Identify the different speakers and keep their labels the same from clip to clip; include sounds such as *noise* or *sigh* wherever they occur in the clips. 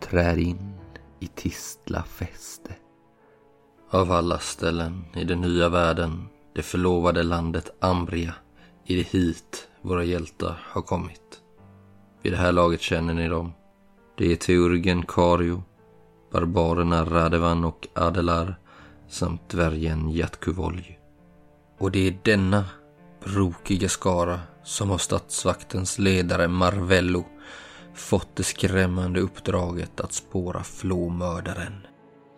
Speaker 1: trär in i Tistla fäste. Av alla ställen i den nya världen, det förlovade landet Ambria, är det hit våra hjältar har kommit. Vid det här laget känner ni dem. Det är teurgen Kario, barbarerna Radevan och Adelar samt dvärgen Jatkuvolj. Och det är denna brokiga skara som av statsvaktens ledare Marvello fått det skrämmande uppdraget att spåra flåmördaren.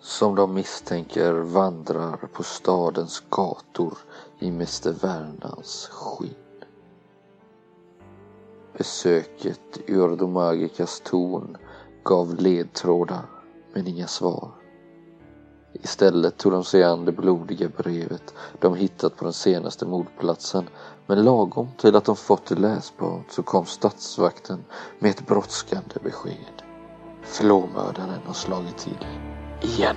Speaker 2: Som de misstänker vandrar på stadens gator i Mr Värnans skinn. Besöket i Ordomagikas torn gav ledtrådar, men inga svar. Istället tog de sig an det blodiga brevet de hittat på den senaste mordplatsen. Men lagom till att de fått det läsbart så kom statsvakten med ett brådskande besked. Flåmördaren har slagit till. Igen.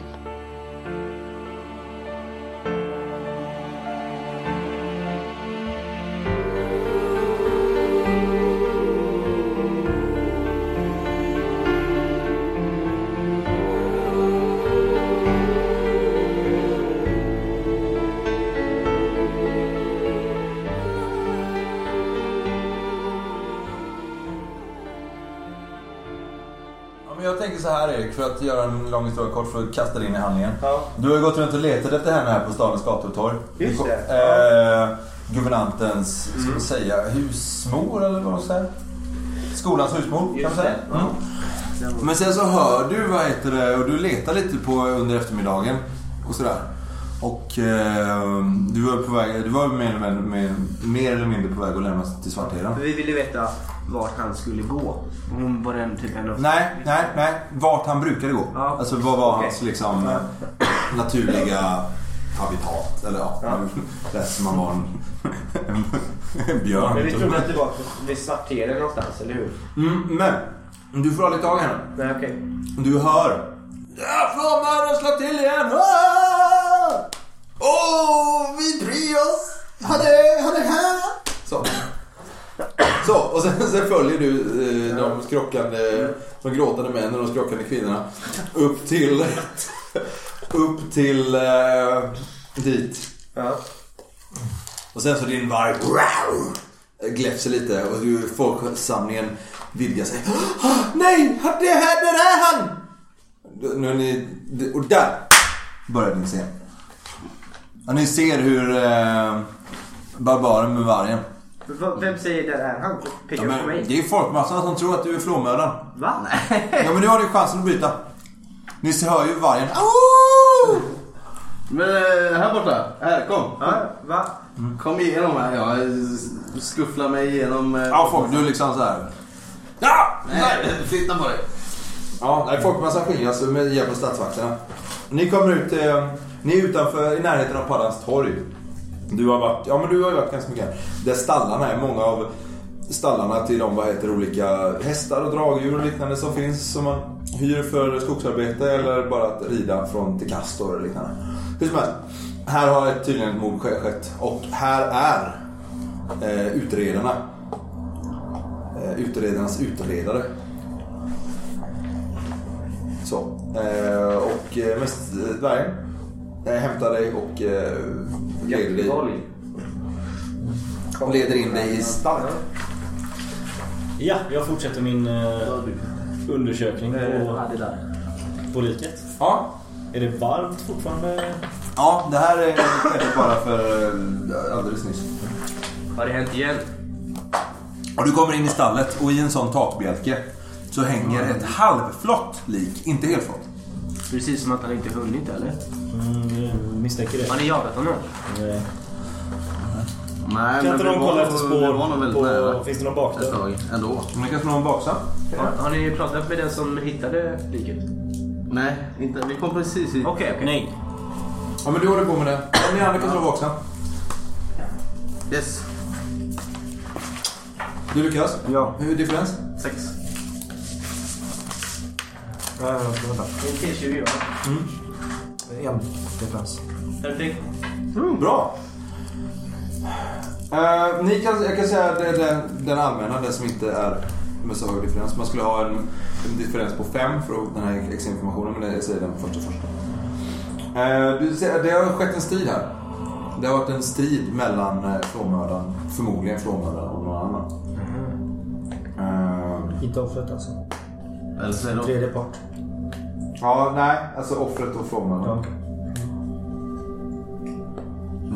Speaker 3: Ja, men jag tänker så här Erik, för att göra en lång historia kort för att kasta det in i handlingen.
Speaker 4: Ja.
Speaker 3: Du har ju gått runt och letat efter henne här på stadens gator och torg.
Speaker 4: Just Mm.
Speaker 3: Du kom- Eh, guvernantens, ska vi säga, husmor eller vad man säger? Skolans husmor kan man
Speaker 4: Just
Speaker 3: säga.
Speaker 4: det.
Speaker 3: Mm.
Speaker 5: Men sen så hör du, vad heter det, och du letar lite på under eftermiddagen och sådär. Och eh, du var, på väg, du var mer, eller mindre- mer, mer eller mindre på väg att lämna till Svartheden.
Speaker 4: För vi ville veta vart han skulle gå. Hon var den typen av...
Speaker 5: Nej, nej, nej. Vart han brukade gå.
Speaker 4: Ja.
Speaker 5: Alltså vad var
Speaker 4: Okej.
Speaker 5: hans liksom eh, naturliga habitat? Eller ja,
Speaker 4: Ja.
Speaker 5: där som man var en, en, *laughs* en björn.
Speaker 4: Men vi
Speaker 5: typ.
Speaker 4: trodde att det var vid Svartheden någonstans, eller hur?
Speaker 5: Mm, men du får aldrig tag i henne.
Speaker 4: Nej, okej.
Speaker 5: Du hör. Ja, Flåmördaren slår till igen. Ah! Åh, Vidrios. Han är, han är här. Så. Så, och sen, sen följer du eh, de skrockande, de gråtande männen och de skrockande kvinnorna upp till, upp till eh, dit.
Speaker 4: Ja.
Speaker 5: Och sen så din varg gläfser lite och du, folksamlingen vidgar sig. Ah, Nej, det här, där är han! Nu är ni, och där börjar ni se. Ja, ni ser hur eh, barbaren med vargen.
Speaker 4: V- Vem säger där är han?
Speaker 5: Ja,
Speaker 4: Pekar på
Speaker 5: men,
Speaker 4: mig?
Speaker 5: det är folkmassan som tror att du är flåmördaren.
Speaker 4: Va?
Speaker 5: Ja men nu har ni chansen att byta. Ni hör ju vargen. Au!
Speaker 6: Men eh, här borta. Här, kom.
Speaker 4: *laughs* Ja, va?
Speaker 6: Kom igenom här. Jag eh, skufflar mig igenom... eh,
Speaker 5: Ja, folk, du är liksom så här. Ja!
Speaker 6: Nej, flytta på dig.
Speaker 5: Ja, nej, folkmassan skingras med hjälp av statsvakterna. Ni kommer ut, eh, ni är utanför, i närheten av Paddans torg. Du har varit, ja men du har ju varit ganska mycket här. Där stallarna är, många av stallarna till de, vad heter det, olika hästar och dragdjur och liknande som finns som man hyr för skogsarbete eller bara att rida från till kast och liknande. Hur som helst, här har ett- tydligen ett mord skett och här är eh, utredarna. Eh, utredarnas utredare. Så. Eh, och eh, mest eh, dvärgen eh, hämtar dig och eh, leder, dig,
Speaker 4: Jättevarlig.
Speaker 5: leder in dig i stall.
Speaker 7: Ja, jag fortsätter min eh, undersökning
Speaker 6: Eh,
Speaker 7: på,
Speaker 4: det där.
Speaker 7: på liket.
Speaker 5: Ja.
Speaker 7: Är det varmt fortfarande?
Speaker 5: ja, det här eh, är skedde bara för eh, alldeles nyss.
Speaker 4: Har det hänt igen?
Speaker 5: Och du kommer in i stallet och i en sån takbjälke så hänger ett halvflott lik, inte helt flott.
Speaker 4: Precis som att han inte hunnit, eller?
Speaker 7: Mm, jag misstänker det.
Speaker 4: Har ni jagat honom?
Speaker 7: Eh,
Speaker 6: Nej,
Speaker 7: Kan inte
Speaker 6: vi
Speaker 7: de
Speaker 6: var-
Speaker 7: kolla efter
Speaker 6: Vi var nog väldigt
Speaker 7: spår? På,
Speaker 6: nära
Speaker 7: finns det någon
Speaker 6: ett
Speaker 7: bakdörr?
Speaker 6: tag ändå.
Speaker 5: Om ni kan slå någon baksa.
Speaker 4: Har, har ni pratat med den som hittade liket?
Speaker 6: Nej, inte. Vi kom precis hit.
Speaker 4: Okej, okej.
Speaker 7: Nej.
Speaker 5: Ja men du håller på med det. Om ni andra kan slå baksa.
Speaker 6: Yes.
Speaker 5: Du lyckas.
Speaker 4: Ja.
Speaker 5: Hur är differens?
Speaker 6: Sex.
Speaker 4: Det är en T20, va?
Speaker 8: Mm. En differens.
Speaker 4: Perfekt.
Speaker 5: Bra. Eh, ni kan, jag kan säga det, den, den allmänna, den som inte är med så hög differens. Man skulle ha en, en differens på 5 för att- den här exinformationen, men jag säger den första första. Eh, du ser, det har skett en strid här. Det har varit en strid mellan eh, flåmördaren, förmodligen flåmördaren och någon annan. Eh,
Speaker 8: Inte offret alltså.
Speaker 6: Eller så är det...
Speaker 8: Tredje part.
Speaker 5: ja, nej, alltså offret och flåmördaren.
Speaker 8: okej.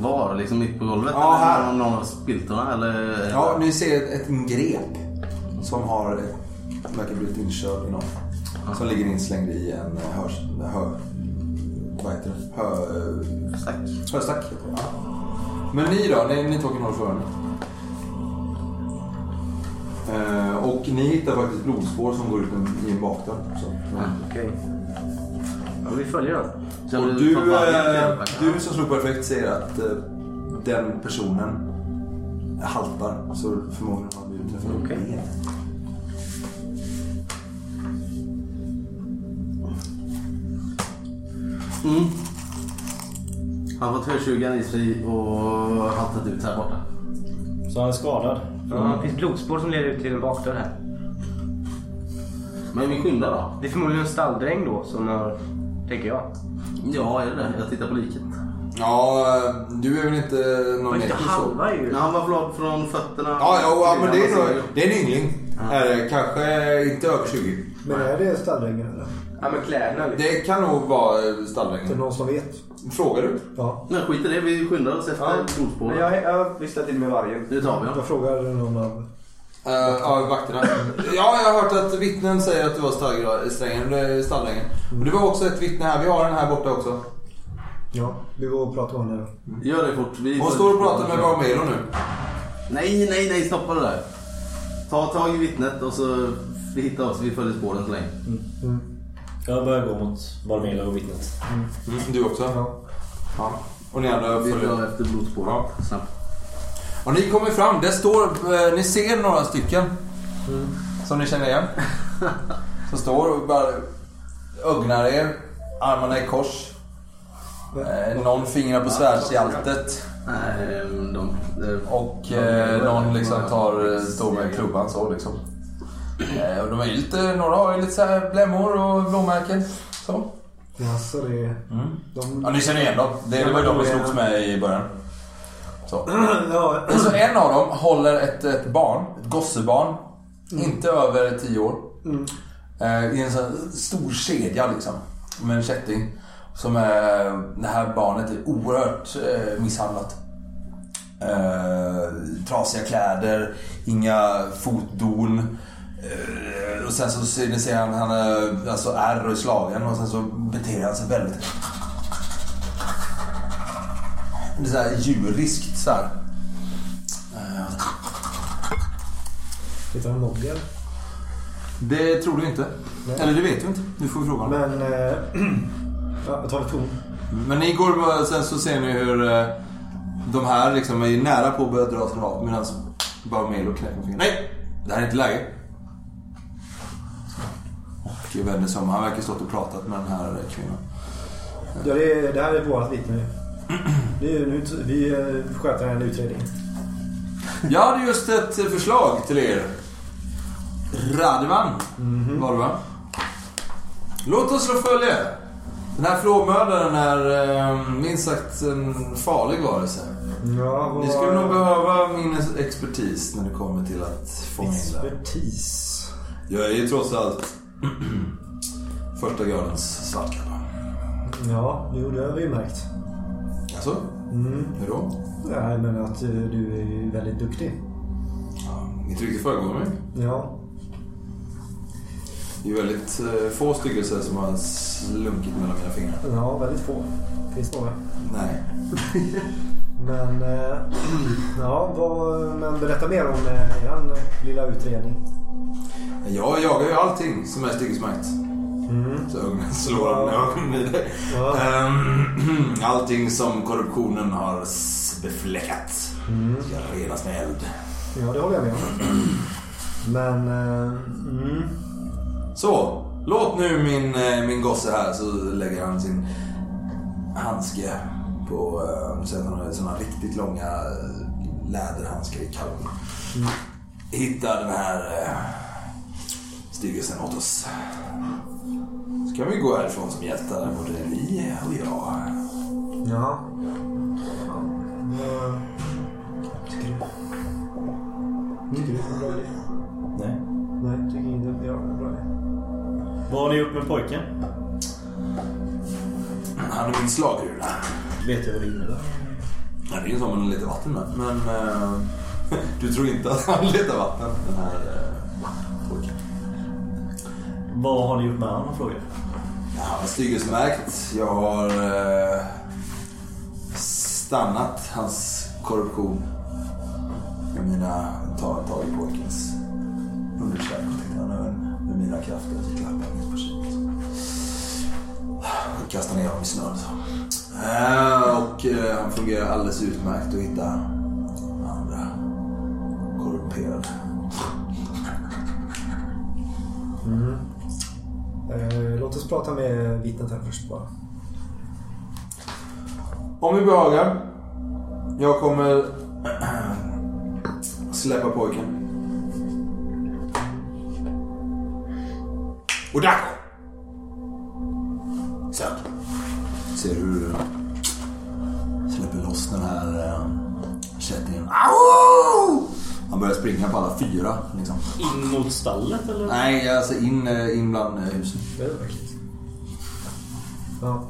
Speaker 6: Var? Liksom mitt på golvet?
Speaker 5: Ja,
Speaker 6: eller
Speaker 5: här.
Speaker 6: någon- Någon av spiltorna? Eller...
Speaker 5: Ja, ni ser ett, ett grep som har verkar blivit inkörd i någon. Som ligger inslängd i en eh, hörs... Hö, vad heter det? Hö,
Speaker 6: Stack.
Speaker 5: hörstack. Ja. Men ni då? Ni, ni tog en håll för öronen. Eh, och ni hittar faktiskt blodspår som går ut en- i en bakdörr. Så.
Speaker 4: Okej. Ja, vi följer den.
Speaker 6: Känner
Speaker 5: Och
Speaker 6: du
Speaker 5: du,
Speaker 6: pappa?
Speaker 5: eh, du som slog perfekt säger att eh, den personen haltar. Så förmodligen har han blivit träffad av
Speaker 4: Okej.
Speaker 5: ben.
Speaker 6: Mm. Han har fått hörsjukan i sig och haltat ut här borta.
Speaker 7: Så han är skadad.
Speaker 4: Ja, det finns blodspår som leder ut till en bakdörr här.
Speaker 6: Men vi skyndar då.
Speaker 4: Det är förmodligen en stalldräng då som har... Tänker jag.
Speaker 6: Ja, är det det? Jag tittar på liket.
Speaker 5: Ja, eh, du är väl inte någon
Speaker 4: Men inte
Speaker 5: äcklig så?
Speaker 4: halva är ju...
Speaker 6: Men han var blad från fötterna.
Speaker 5: Ja, ja, ja, men det är, nog,
Speaker 6: nog...
Speaker 5: det är en yngling. Är det, kanske inte över 20.
Speaker 8: Men är det stalldrängen eller?
Speaker 4: Ja, men kläderna liksom.
Speaker 5: Det kan nog vara
Speaker 8: Är det
Speaker 5: stalldrängen.
Speaker 8: någon som vet?
Speaker 5: Frågar du?
Speaker 8: Ja.
Speaker 6: Men skit i det, vi skyndar oss efter
Speaker 4: Ja. Men
Speaker 6: blodspåren.
Speaker 4: jag, jag visslar till med vargen.
Speaker 6: Nu tar vi honom.
Speaker 8: Jag frågar någon av...
Speaker 5: Eh, Ja, vakterna. Ja, jag har hört att vittnen säger att det var stallgra- strängen- eh, stalldrängen. Och det var också ett vittne här. Vi har den här borta också.
Speaker 8: Ja, vi går och pratar med henne.
Speaker 6: Gör det fort. Vi
Speaker 5: Hon står och pratar med Barmelo nu.
Speaker 6: Nej, nej, nej, stoppa det där. Ta tag i vittnet och så vi hittar oss. Vi följer spåren så länge.
Speaker 7: Jag börjar gå mot Balmela och vittnet.
Speaker 5: Mm, du också?
Speaker 8: Ja.
Speaker 5: Ja. Och ni andra
Speaker 6: Vi
Speaker 5: följer.
Speaker 6: drar efter blodspåren.
Speaker 5: Ja.
Speaker 6: Snabbt.
Speaker 5: Och ni kommer fram. Det står, eh, ni ser några stycken. Som ni känner igen. Som står och bara ögnar er. Armarna i kors. Eh, någon fingrar på svärdshjältet.
Speaker 6: Nej, de... eh,
Speaker 5: Och eh, någon liksom tar, eh, står med klubban så liksom. Eh, och de är ju lite, några har ju lite så här blämmor och blåmärken. Så.
Speaker 8: Jaså, det är... De...
Speaker 5: Ja, ni känner igen dem. Det, det var ju de vi slogs med i början. Så.
Speaker 8: Ja,
Speaker 5: Så Alltså, en av dem håller ett, ett barn, ett gossebarn, inte över 10 år. Eh, I en sån stor kedja liksom, med en kätting. Som är, det här barnet är oerhört eh, misshandlat. Eh, trasiga kläder, inga fotdon. Eh, och sen så ser ni ser han, han är alltså ärr och är slagen och sen så beter han sig väldigt det är så här djuriskt så här. Eh,
Speaker 8: Heter han Mogg eller?
Speaker 5: Det tror du inte. Eller det vet du inte. Du får fråga honom.
Speaker 8: Men... Eh, *clears throat* ja, jag tar ett ton.
Speaker 5: Men ni går bara- sen så ser ni hur eh, de här liksom är nära på att börja dra sina vapen medan Barmelo knäcker med fingrarna. Nej! Det här är inte läge. Och vänder sig om. Han verkar ha stått och pratat med den här kvinnan.
Speaker 8: Ja, det, är- det här är vårt vittne *clears throat* nu. Det är ju nu vi eh, sköter en utredning.
Speaker 5: Jag hade just ett förslag till er. Radvan var det va? Låt oss slå följe. Den här flåmördaren är eh, minst sagt en farlig varelse.
Speaker 8: Ja, vad...
Speaker 5: Ni skulle nog behöva min expertis när det kommer till att fånga in det. här.
Speaker 8: Expertis.
Speaker 5: Jag är ju trots allt *clears throat* första gradens svartkappa.
Speaker 8: Ja, jo, det har vi ju märkt.
Speaker 5: Alltså, hur då?
Speaker 8: Nej, men att eh, du är ju väldigt duktig.
Speaker 5: Ja, mitt rykte föregår mig.
Speaker 8: Ja.
Speaker 5: Det är väldigt eh, få styggelser som har slunkit mellan mina fingrar.
Speaker 8: Ja, väldigt få. Finns några.
Speaker 5: Nej.
Speaker 8: Men, eh, *clears throat* ja, vad, men berätta mer om eh, er eh, lilla utredning.
Speaker 5: Jag jagar ju allting som är styggsmärkt. Så ögonen *laughs* slår han med ögonen i dig.
Speaker 8: Ja.
Speaker 5: Ehm, *clears throat* Allting som korruptionen har s- befläckat ska renas med eld.
Speaker 8: Ja, det håller jag med om. Men, eh, mm,
Speaker 5: Så, låt nu min, eh, min gosse här så lägger han sin handske på, eh, så att han har sådana riktigt långa Mm. eh, läderhandskar i kalven. Hitta den här eh, stiger sen åt oss. Så kan vi gå härifrån som hjältar, både ni och jag.
Speaker 8: Ja. Vad tycker du? Tycker du det är en bra idé?
Speaker 7: Nej.
Speaker 8: Nej, tycker inte att jag är en bra idé.
Speaker 7: Vad har ni gjort med pojken?
Speaker 5: Han är min slagrula.
Speaker 7: Vet jag vad det innebär?
Speaker 5: Han är ju som en lite vatten med. Men eh, *laughs* du tror inte att han letar vatten, den här eh, pojken.
Speaker 7: Vad har ni gjort med honom frågar jag.
Speaker 5: Ja, Styggesmärkt. Jag har eh, stannat hans korruption med mina tag, tag i pojkens underkläder. tänkte jag, nu, Med mina krafter så klappar jag mitt på kinden. Och kastar ner honom i snön. så. Eh, och eh, han fungerar alldeles utmärkt att hitta andra korrumperade.
Speaker 8: Eh, Låt oss prata med vittnet här först bara.
Speaker 5: Om vi behagar. Jag kommer *clears throat* släppa pojken. Och där! Sök. Ser hur du släpper loss den här eh, kättingen. Au! Han börjar springa på alla fyra. Liksom.
Speaker 7: In mot stallet eller?
Speaker 5: Nej, alltså in, eh, in bland eh, husen.
Speaker 8: Det är verkligt. Ja.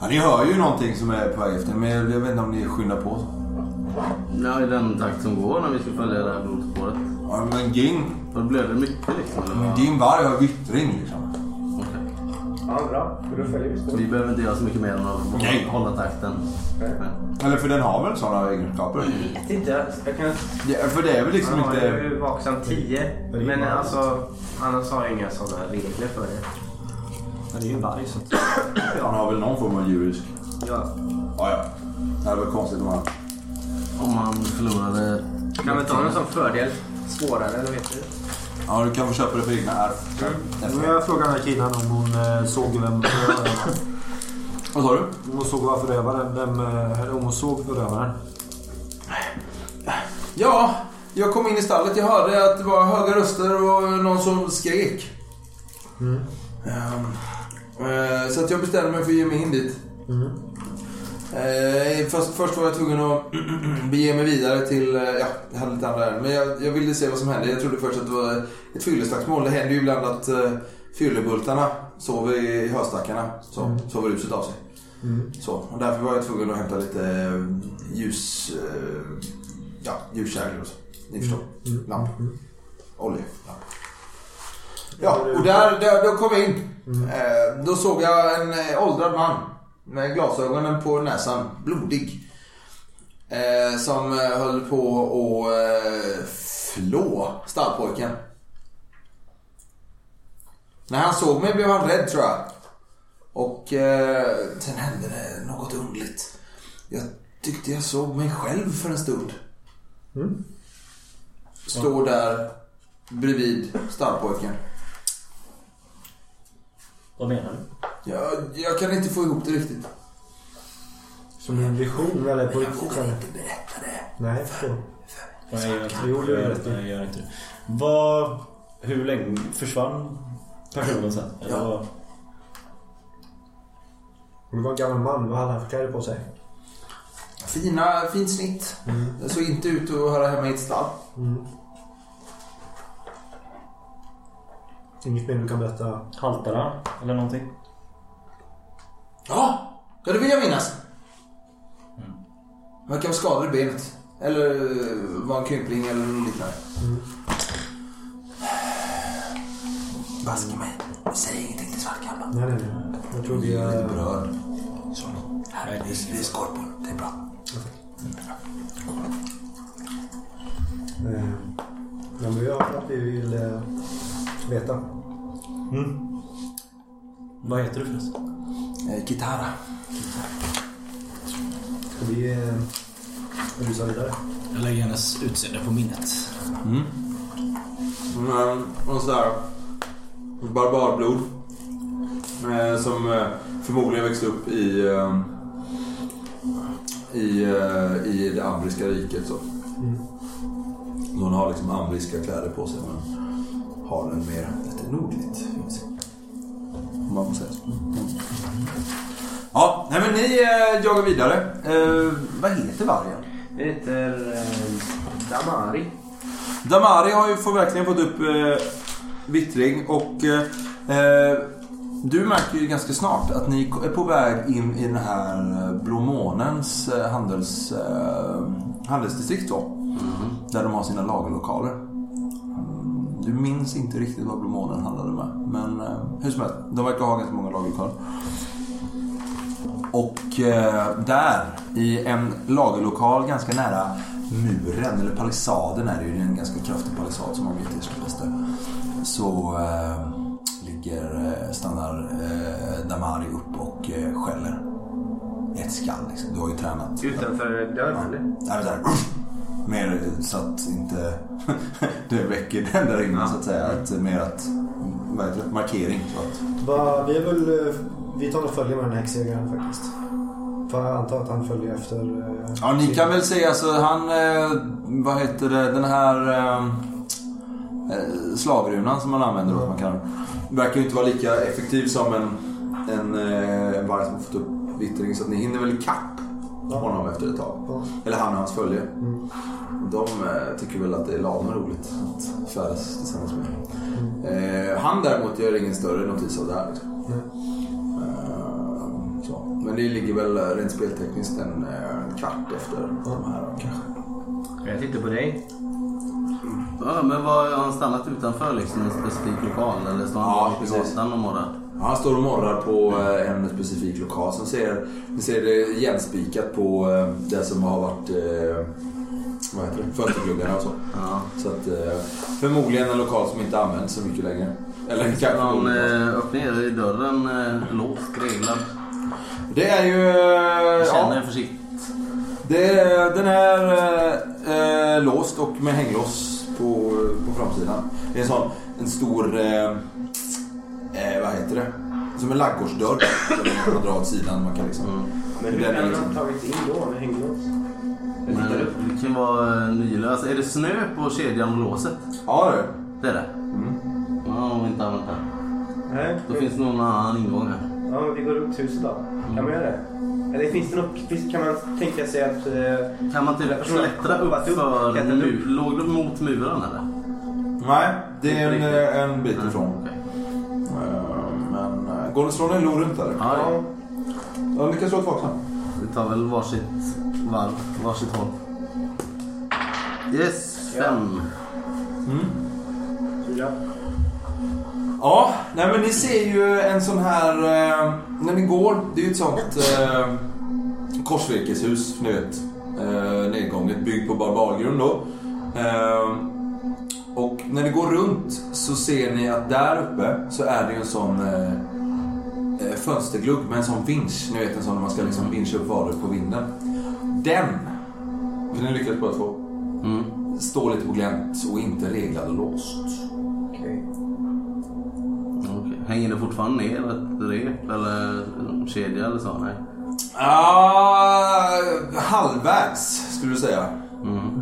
Speaker 5: Ja, ni hör ju någonting som är på väg efter men jag vet inte om ni skyndar på.
Speaker 6: Ja, i den takt som går när vi ska följa det här blodspåret.
Speaker 5: Ja, men Ging,
Speaker 6: Då blöder det mycket liksom. eller vad?
Speaker 5: din varg har vittring liksom.
Speaker 6: Okej.
Speaker 8: Ja, bra. Då följer vi
Speaker 6: Vi behöver inte göra så mycket mer än att
Speaker 5: Nej.
Speaker 6: hålla takten.
Speaker 5: Eller för den har väl sådana egenskaper?
Speaker 9: Jag vet inte. Jag kan...
Speaker 5: Ja, för det är väl liksom
Speaker 9: Han har
Speaker 5: inte...
Speaker 9: ju vaksam 10.
Speaker 8: Mm.
Speaker 9: Men alltså, annars har jag inga sådana regler för det.
Speaker 7: Men det är ju en varg så
Speaker 5: Han har väl någon form av djurisk...
Speaker 9: Ja.
Speaker 5: Ja, ja. Det hade varit konstigt om han...
Speaker 6: Om man förlorade...
Speaker 9: Kan vi ta någon sån fördel? Svårare, eller vet du?
Speaker 5: Ja, du kan få köpa det för egna ärr.
Speaker 8: Nu har jag frågat den här killen om hon eh, såg vem förövaren var.
Speaker 5: Vad sa du?
Speaker 8: Om hon såg vad förövaren, vem, eh, eller om hon såg förövaren.
Speaker 5: Ja, jag kom in i stallet. Jag hörde att det var höga röster och någon som skrek. Ehm, eh, så att jag bestämde mig för att ge mig in dit. Eh, först, först var jag tvungen att *clears throat* bege mig vidare till... eh, Ja, jag hade lite andra ärenden. Men jag, jag ville se vad som hände. Jag trodde först att det var ett fylleslagsmål. Det händer ju ibland att uh, fyllebultarna sover i höstackarna. Så sover ruset av sig. Så, och därför var jag tvungen att hämta lite eh, ljus... eh, ja, ljuskäglor och så. Ni förstår. Lampor. Oljelamp. Ja, och där, där då kom jag in. Eh, då såg jag en eh, åldrad man med glasögonen på näsan, blodig. Eh, som eh, höll på att eh, flå stallpojken. När han såg mig blev han rädd tror jag. Och eh, sen hände det något underligt. Jag tyckte jag såg mig själv för en stund. Står där bredvid stallpojken.
Speaker 7: Vad menar du?
Speaker 5: Jag, jag kan inte få ihop det riktigt.
Speaker 8: Som en vision eller på riktigt eller?
Speaker 5: berätta det.
Speaker 8: Nej, jag förstår.
Speaker 7: Nej, jag gör inte
Speaker 8: Jo, det gör det.
Speaker 7: Nej, jag gör inte det. Vad... Hur länge försvann personen sen? Eller
Speaker 5: Ja.
Speaker 7: vad-
Speaker 8: Och Det var en gammal man. Vad hade han för kläder på sig?
Speaker 5: Fina, fint snitt. Jag såg inte ut att höra hemma i ett stall.
Speaker 8: Inget mer du kan berätta?
Speaker 7: Haltar han? Eller någonting?
Speaker 5: Ja, ja det vill jag minnas. Verkar vara skadad i benet. Eller var en krympling eller något liknande. Baske mig. Säg ingenting till Svartkappan.
Speaker 8: Nej, nej, nej. Jag tror vi...
Speaker 5: Jag är lite
Speaker 8: eh,
Speaker 5: berörd.
Speaker 7: Nej, det är
Speaker 5: Vi är skorpor. Det är bra.
Speaker 8: Eh, ja, men vi har att vi vill eh, veta.
Speaker 7: Vad heter du förresten?
Speaker 5: Eh, Kitara.
Speaker 8: Ska vi eh, rusa vidare?
Speaker 10: Jag lägger hennes utseende på minnet.
Speaker 5: Mm, och sådär. Barbarblod. Eh, som eh, förmodligen växte upp i, eh, i, eh, i det ambriska riket. Så. Så hon har liksom ambriska kläder på sig. Men har den mer nordligt. Om man får säga så. Ja, nej men ni eh, jagar vidare. Eh, vad heter vargen?
Speaker 9: Det heter eh, Damari.
Speaker 5: Damari har ju får verkligen fått upp eh, vittring och eh, eh, du märker ju ganska snart att ni är på väg in i den här eh, Blåmånens eh, handels, eh, handelsdistrikt då. Där de har sina lagerlokaler. Mm, Du minns inte riktigt vad Blåmånen handlade med. Men eh, hur som helst, de verkar ha ganska många lagerlokaler. Och eh, där i en lagerlokal ganska nära muren, eller palissaden är det ju, det är en ganska kraftig palissad som man vet är så pass där. Så eh, ligger, eh, stannar eh, Damari upp och eh, skäller. Ett skall liksom, du har ju tränat.
Speaker 9: Utanför dörren eller?
Speaker 5: Ja, det där. Mer så att inte *laughs* det väcker den där inne så att säga. Att, mer att, vad heter det, markering. Så att,
Speaker 8: Va, vi, är väl, eh, vi tar nog följe med den här häxjägaren faktiskt. För jag antar att han följer efter... eh,
Speaker 5: Ja, ni kan väl säga så han, eh, vad heter det, den här eh, eh, slavrunan som man använder då, man kan, verkar ju inte vara lika effektiv som en, en eh, varg som har fått upp vittring så att ni hinner väl ikapp honom efter ett tag.
Speaker 8: Ja.
Speaker 5: Eller han och hans följe. De eh, tycker väl att det är lama roligt att färdas tillsammans med. Eh, han däremot gör ingen större notis av det här. Liksom.
Speaker 8: Nej.
Speaker 5: Eh, så. Men det ligger väl eh, rent speltekniskt en eh, kvart efter de här då, kanske.
Speaker 9: Jag tittar på dig.
Speaker 6: Ja, men vad, har han stannat utanför liksom en specifik lokal eller står
Speaker 5: Ja,
Speaker 6: han ja, på
Speaker 5: precis.
Speaker 6: gatan och morrar?
Speaker 5: Ja, Han står och morrar på eh, en specifik lokal. Sen ser, ni ser det igenspikat på eh, det som har varit eh, vad heter det? fönstergluggarna och så.
Speaker 6: Ja.
Speaker 5: Så att, eh, förmodligen en lokal som inte används så mycket längre. Eller kanske
Speaker 6: Han
Speaker 5: någon-
Speaker 6: eh, öppnar är dörren eh, låst, reglad.
Speaker 5: Det är ju... eh,
Speaker 6: Känner
Speaker 5: Ja,
Speaker 6: försiktigt.
Speaker 5: det är, den är eh, eh, låst och med hänglås på, på framsidan. Det är en sån en stor... Eh, eh, vad heter det? Som en laggårdsdörr. som man kan dra åt sidan. Man kan liksom...
Speaker 9: Mm. Men hur
Speaker 5: Den är
Speaker 9: kan
Speaker 5: liksom-
Speaker 9: de ha tagit in då med hänglås? Jag
Speaker 6: Men
Speaker 9: tittar upp.
Speaker 6: det kan vara eh, nylös. Är det snö på kedjan och låset?
Speaker 5: Ja, det är det.
Speaker 6: Det är det? Ja, om vi inte använt det.
Speaker 9: Nej.
Speaker 6: Då finns det någon annan ingång här.
Speaker 9: Ja, men vi går upp huset då. Kan man göra det? Eller finns det något, visst kan man tänka sig att... eh,
Speaker 6: Kan man typ klättra upp för...
Speaker 9: Klättra upp.
Speaker 6: Mu- låg de mot muren eller?
Speaker 5: Nej, det är en, eh, en bit
Speaker 6: Nej,
Speaker 5: ifrån.
Speaker 6: okej.
Speaker 9: Mm.
Speaker 5: Eh, Men eh, går det att slå en lo runt eller?
Speaker 6: Ja, ja.
Speaker 5: Ja, ni kan slå tillbaka sen.
Speaker 6: Vi tar väl varsitt varv, varsitt håll. Yes, fem.
Speaker 9: Fyra.
Speaker 5: Ja, nej men ni ser ju en sån här... eh, När ni går, det är ju ett sånt eh, korsvirkeshus, ni vet. Eh, nedgånget, byggt på barbargrund då. Eh, och när ni går runt så ser ni att där uppe så är det ju en sån... Eh, eh, fönsterglugg med en sån vinsch. Ni vet en sån där man ska liksom vinscha upp varor på vinden. Den, för ni lyckades båda två, står lite på glänt och inte reglad och låst.
Speaker 6: Okej. Mm. Hänger det fortfarande ner ett rep eller en kedja eller så? Nej.
Speaker 5: Ah, halvvägs skulle du säga.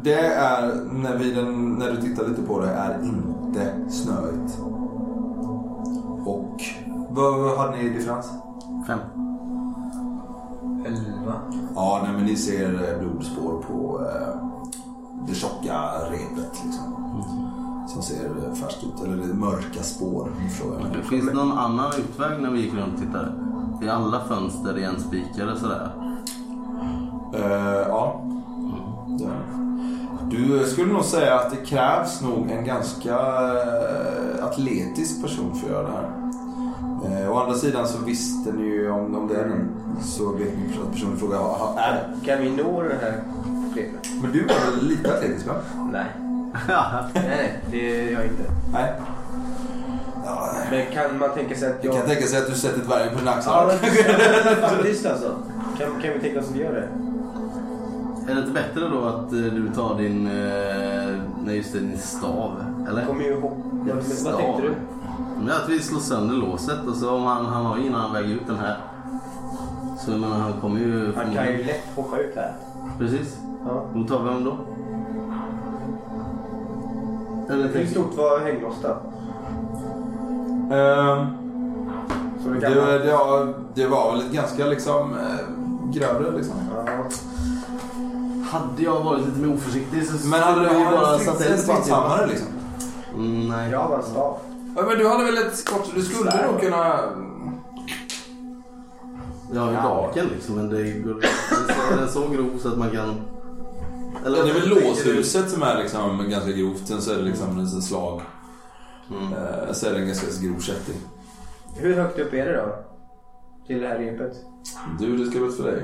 Speaker 5: Det är, när, vi, den- när du tittar lite på det, är inte snöigt. Och vad, vad hade ni i differens?
Speaker 6: Fem.
Speaker 5: Ja, nej, men ni ser eh, blodspår på eh, det tjocka repet liksom. Som ser eh, färskt ut, eller det är mörka spår. Frågar jag. mig.
Speaker 6: Finns det någon annan utväg när vi gick runt och tittade? Är alla fönster igenspikade sådär?
Speaker 5: Eh, ja. Det är det. Du skulle nog säga att det krävs nog en ganska eh, atletisk person för att göra det här. Eh, å andra sidan så visste ni ju om, om det är någon, så vet ni att personen i fråga har- har- är det.
Speaker 9: Kan vi nå det här repet?
Speaker 5: Men du var väl lite atletisk va? *laughs*
Speaker 9: Nej. nej, nej, det är jag inte.
Speaker 5: Nej. Ja,
Speaker 9: Men kan man tänka sig att
Speaker 5: jag kan
Speaker 9: jag...
Speaker 5: tänka sig att du sätter dvärgen på din axel.
Speaker 9: Ja, men *laughs* faktiskt alltså. Kan, kan vi tänka oss att göra det?
Speaker 6: Är det inte bättre då att eh, du tar din... Eh, nej, just det, din stav? Eller?
Speaker 9: Kommer ju ihåg. Vad
Speaker 6: Stav.
Speaker 9: tänkte du?
Speaker 6: Men att vi slår sönder låset och så om han, han har innan han väger ut den här. Så jag menar, han kommer ju...
Speaker 9: Han kan ju lätt hoppa ut här.
Speaker 6: Precis.
Speaker 9: Ja.
Speaker 6: Då tar vi honom då. Eller
Speaker 9: Hur
Speaker 6: tänker
Speaker 9: stort var hänglåset då?
Speaker 5: Ehm,
Speaker 9: hur
Speaker 5: det,
Speaker 9: gammal?
Speaker 5: det, ja, det var väl ett ganska liksom eh, grövre liksom.
Speaker 6: Hade jag varit lite mer oförsiktig så
Speaker 5: Men hade du
Speaker 6: skulle vi bara
Speaker 5: haft
Speaker 6: satt
Speaker 5: en
Speaker 6: eld på
Speaker 5: stridshammare
Speaker 6: alltihopa.
Speaker 5: liksom?
Speaker 6: Mm, nej.
Speaker 9: Jag har en stav.
Speaker 5: Ja, men du hade väl ett skott? Du skulle nog kunna...
Speaker 6: Jag har ju draken liksom men det går, den är så grov så att man kan... Eller,
Speaker 5: Ja, det är väl
Speaker 6: tänker du-
Speaker 5: låshuset som är liksom ganska grovt. Sen så är det liksom en sån slag.
Speaker 6: Mm.
Speaker 5: Eh, så är det en ganska grov kätting.
Speaker 9: Hur högt upp är det då? Till det här repet?
Speaker 5: Du, det ska vara för dig.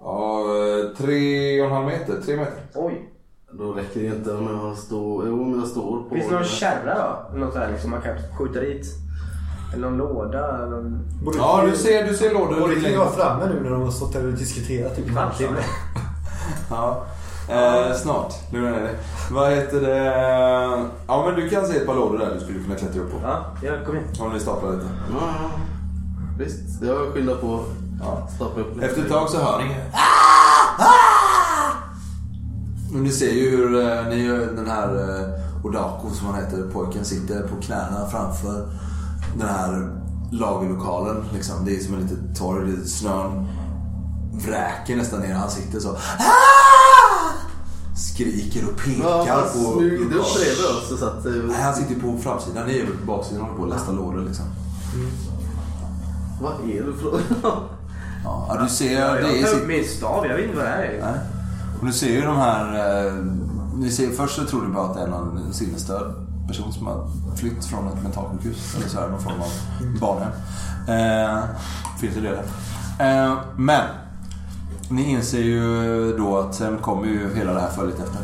Speaker 5: Ja, eh, tre och en halv meter. Tre meter.
Speaker 9: Oj.
Speaker 6: Då räcker det inte om jag står, jo, om jag står på...
Speaker 9: Finns det någon kärra då? Eller Något där liksom man kan skjuta dit? Eller någon låda? Eller någon...
Speaker 8: Borde
Speaker 5: Ja, du ser, du ser lådor
Speaker 8: Borde
Speaker 5: lite
Speaker 8: inte vi
Speaker 5: längre.
Speaker 8: vara framme nu när de har stått här och diskuterat typ en halvtimme?
Speaker 5: Ja. Eh, snart. Lugna ner dig. Vad heter det? Ja, men du kan se ett par lådor där du skulle kunna klättra upp på.
Speaker 9: Ja, jag kom in.
Speaker 5: Om ni staplar lite.
Speaker 6: Ja, ja. Visst, det har jag skyndat på.
Speaker 5: Ja.
Speaker 6: Stoppa upp lite.
Speaker 5: Efter ett tag så hör ni... Och ni ser ju hur eh, ni, den här eh, Odako som han heter, pojken, sitter på knäna framför den här lagerlokalen. Liksom. Det är som en liten torg, det är snön vräker nästan ner. Han sitter så. Skriker och pekar
Speaker 6: Ja, han
Speaker 5: på...
Speaker 6: smög upp bredvid oss och satt...
Speaker 5: Nej,
Speaker 6: eh,
Speaker 5: han sitter ju på framsidan. Ni är väl på baksidan och håller på att lasta lådor liksom.
Speaker 6: Vad är det för...
Speaker 5: Ja, ja, du ser,
Speaker 9: Ja,
Speaker 5: det
Speaker 9: jag
Speaker 5: är
Speaker 9: tar upp min stav, jag vet inte vad det här är.
Speaker 5: Nej. Och du ser ju de här... Eh, ni ser, först så tror du bara att det är någon sinnesstörd person som har flytt från ett mentalsjukhus. Eller så här, någon form av barnhem. Eh, finns ju det där. Eh, men. Ni inser ju då att sen kommer ju hela det här följet efter.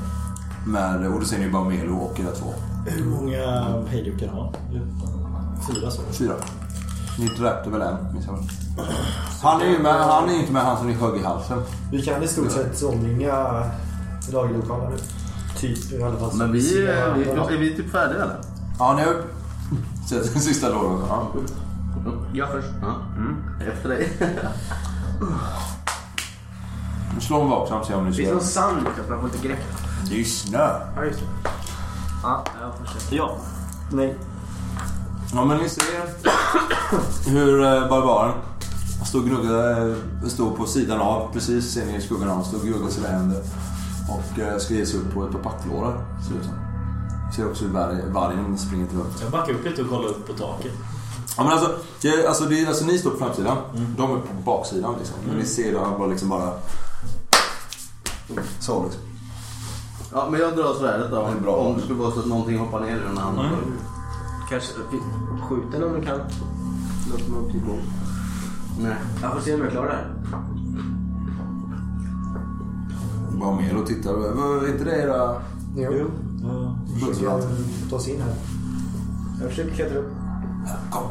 Speaker 5: Men, och då ser ni ju bara Melo och era två.
Speaker 7: Hur många hejdukar har han? Eller- Fyra så.
Speaker 5: Fyra. Ni dräpte väl en, missar jag. Han är ju med, han är ju inte med han som ni högg i halsen.
Speaker 8: Vi kan i stort sett omringa lagerlokalen nu. Typ i alla fall.
Speaker 6: Men vi,
Speaker 8: Ser
Speaker 6: eh, vi,
Speaker 8: varandra.
Speaker 6: är vi typ färdiga eller?
Speaker 5: Ja, ni har *laughs* upp. Sätter den sista lådan. Ja.
Speaker 6: Jag först. Ja.
Speaker 5: Mm.
Speaker 6: Efter dig.
Speaker 5: Slå en vaksamt se om ni
Speaker 9: Finns
Speaker 5: ser.
Speaker 9: det någon sand liksom? Man får inte grepp.
Speaker 5: Det är ju snö.
Speaker 9: Ja, just det. Ja, jag får se.
Speaker 7: Ja.
Speaker 8: Nej.
Speaker 5: Ja men ni ser hur eh, barbaren står och gnuggar, eh, står på sidan av. Precis ser ni i skuggan av honom. Står och gnuggar sina händer. Och eh, ska ge sig upp på ett par packlårar ser det ut som. Ser också hur varg- vargen springer till runt.
Speaker 7: Jag backar upp lite och kollar upp på taket.
Speaker 5: Ja men alltså, det, alltså, det, alltså ni står på framsidan. De är på baksidan liksom. Men ni ser dem bara liksom bara... Så liksom.
Speaker 6: Ja, men jag drar svärdet då.
Speaker 5: Det är bra.
Speaker 6: Om det skulle vara så att någonting hoppar ner ur den andra. Mm.
Speaker 9: Kanske skjuta någon du kan. Något med upp till bord.
Speaker 6: Nej.
Speaker 9: Jag får se om jag klarar det här.
Speaker 5: Bara med och tittar. Vad- Är inte det era...
Speaker 8: Jo. Vi
Speaker 5: skjutsvallar?
Speaker 8: försöker ta oss in här.
Speaker 9: Jag försöker klättra upp.
Speaker 5: Kom.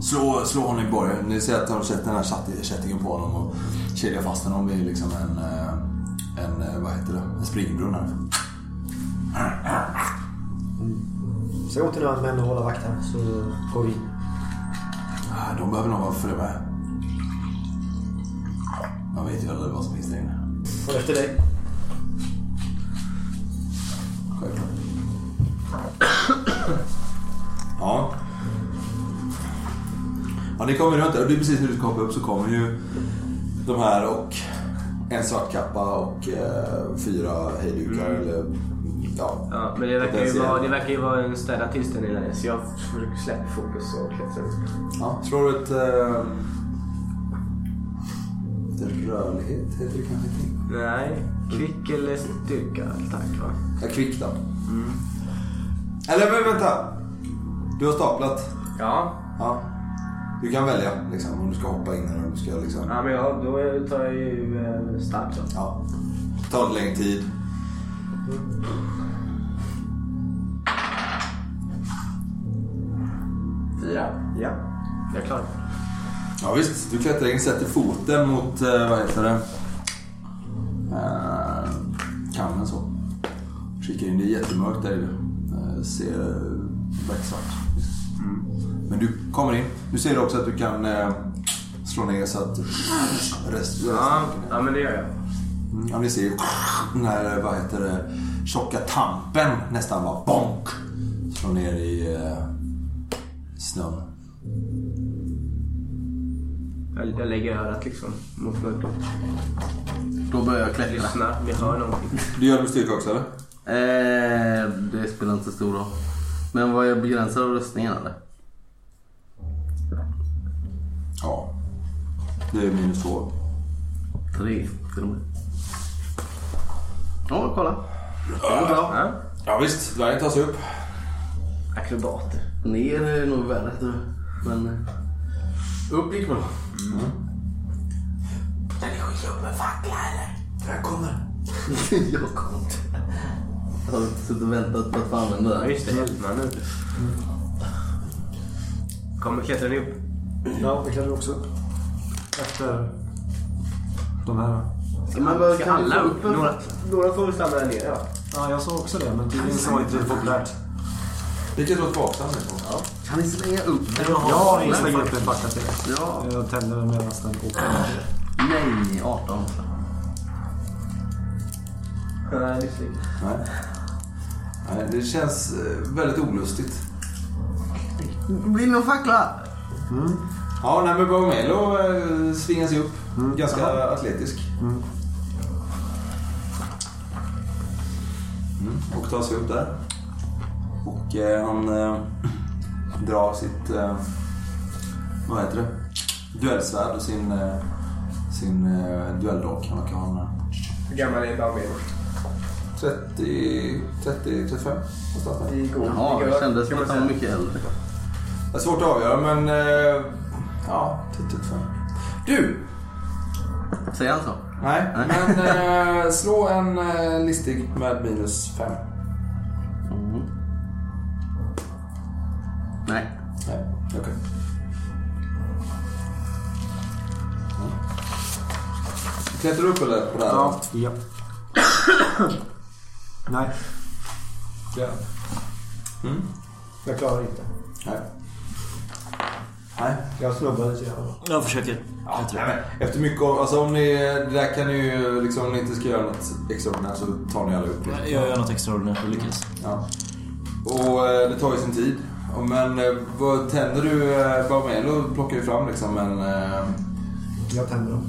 Speaker 5: Slå, slå honom i borgen. Ni ser att de sätter den här chatt- kättingen på honom och kedjar fast honom vid liksom en, eh, en, eh, vad heter det, en springbrunn här.
Speaker 8: Säg åt dina män att hålla vakt här så går vi in.
Speaker 5: Ah, De behöver nog vara följa med. Man vet ju aldrig vad som finns där inne.
Speaker 8: Och efter dig.
Speaker 5: Självklart. Ja. Ja, ni kommer runt där och det är precis när du ska hoppa upp så kommer ju de här och en svart kappa och eh, fyra hejdukar eller ja,
Speaker 9: Ja, men det verkar, ju
Speaker 5: Potentiellt.
Speaker 9: vara, det verkar ju vara en städad tillställning där så jag försöker släppa fokus och klättra upp.
Speaker 5: Ja, slår du ett... Eh, ett rörlighet heter det kanske inte.
Speaker 9: Nej, kvick eller styrka tack va?
Speaker 5: Ja, kvick då. Eller vä- vänta! Du har staplat.
Speaker 9: Ja,
Speaker 5: Ja. Du kan välja liksom, om du ska hoppa in eller om du ska liksom...
Speaker 9: ja men jag, då är- tar jag ju eh, starkt då.
Speaker 5: Ja. Ta lite längre tid. Fyra.
Speaker 9: Ja, jag klarar det.
Speaker 5: Ja visst, du klättrar in, sätter foten mot, eh, vad heter det? Eh, kammen så. Kikar in, det är jättemörkt där inne. Eh, ser becksvart. Men du kommer in. Du ser också att du kan eh, slå ner så att resten...
Speaker 9: Ja, ja men det gör jag.
Speaker 5: Mm, Ja, ni ser ju den här, vad heter det, tjocka tampen nästan bara bonk. Slår ner i eh,
Speaker 3: snön.
Speaker 9: Jag, jag lägger örat liksom mot mörkret.
Speaker 6: Då börjar jag klättra.
Speaker 9: Lyssnar om jag hör någonting.
Speaker 5: Du gör det med styrka också eller?
Speaker 6: Eh, det spelar inte så stor roll. Men var jag begränsad av rustningen eller?
Speaker 5: Ja. Det är minus två.
Speaker 6: Tre till och med. Ja, kolla. Det går bra.
Speaker 9: Ja.
Speaker 5: Ja visst, dvärgen tar sig upp.
Speaker 9: Akrobater.
Speaker 6: Ner är nog värre tror jag. Men eh, upp gick bra.
Speaker 9: Mm.
Speaker 6: Ska ni skicka upp en fackla eller? *laughs* Jag kommer. jag kommer inte. Jag har suttit och väntat på att få använda den.
Speaker 9: Ja, just det. Hjälmarna ute. Kommer klättra ni upp?
Speaker 8: Ja, vi klättrar också upp. Efter de här. va?
Speaker 6: Men vad
Speaker 9: Ska
Speaker 6: kan vi
Speaker 9: alla
Speaker 6: få
Speaker 9: upp?
Speaker 6: en-
Speaker 9: Några?
Speaker 8: Några
Speaker 9: får väl stanna där nere va?
Speaker 8: Ja, jag sa också det, men tydligen så var inte det populärt.
Speaker 5: Vilket låter vaksamt. Ja.
Speaker 6: Kan ni slänga upp den?
Speaker 8: Jag slänger upp en facka till.
Speaker 6: Ja.
Speaker 8: Jag tänder den medan den åker.
Speaker 6: Nej, 18.
Speaker 9: Nej, det är snyggt.
Speaker 5: Nej. Nej, det känns eh, väldigt olustigt.
Speaker 6: Blir det någon fackla?
Speaker 5: Ja, nej, men Bomelo eh, svingar sig upp. Ganska atletisk. Mm, och tar sig upp där. Och eh, han eh, *clears throat* drar sitt, eh, vad heter det, duellsvärd och sin, eh, sin eh, duelldrake. Han verkar ha en eh,
Speaker 9: Hur gammal är Baumel?
Speaker 5: 30, 30, 35 på starten.
Speaker 9: Igår.
Speaker 6: Ja, det kändes som att han var mycket äldre.
Speaker 5: Det är svårt att avgöra, men... Eh, ja, 35. Du!
Speaker 6: Säger han så?
Speaker 5: Nej, men eh, slå en eh, listig med minus 5.
Speaker 6: Nej.
Speaker 5: Nej, okej. Mm. Klättrar du upp eller? På det här?
Speaker 8: Ja. ja. Nej,
Speaker 5: Ja.
Speaker 8: Mm. jag klarar inte.
Speaker 5: Nej. Nej.
Speaker 8: Jag snubbar lite grann.
Speaker 7: Jag försöker.
Speaker 5: Ja, nej, men efter mycket om, alltså om ni, det där kan ni ju liksom, om ni inte ska göra något extraordinärt så tar ni alla upp.
Speaker 10: Jag gör något extraordinärt och lyckas.
Speaker 5: Ja. Och eh, det tar ju sin tid. Och Men eh, vad tänder du eh, Barmelo plockar ju fram liksom en, eh,
Speaker 8: Jag tänder dem.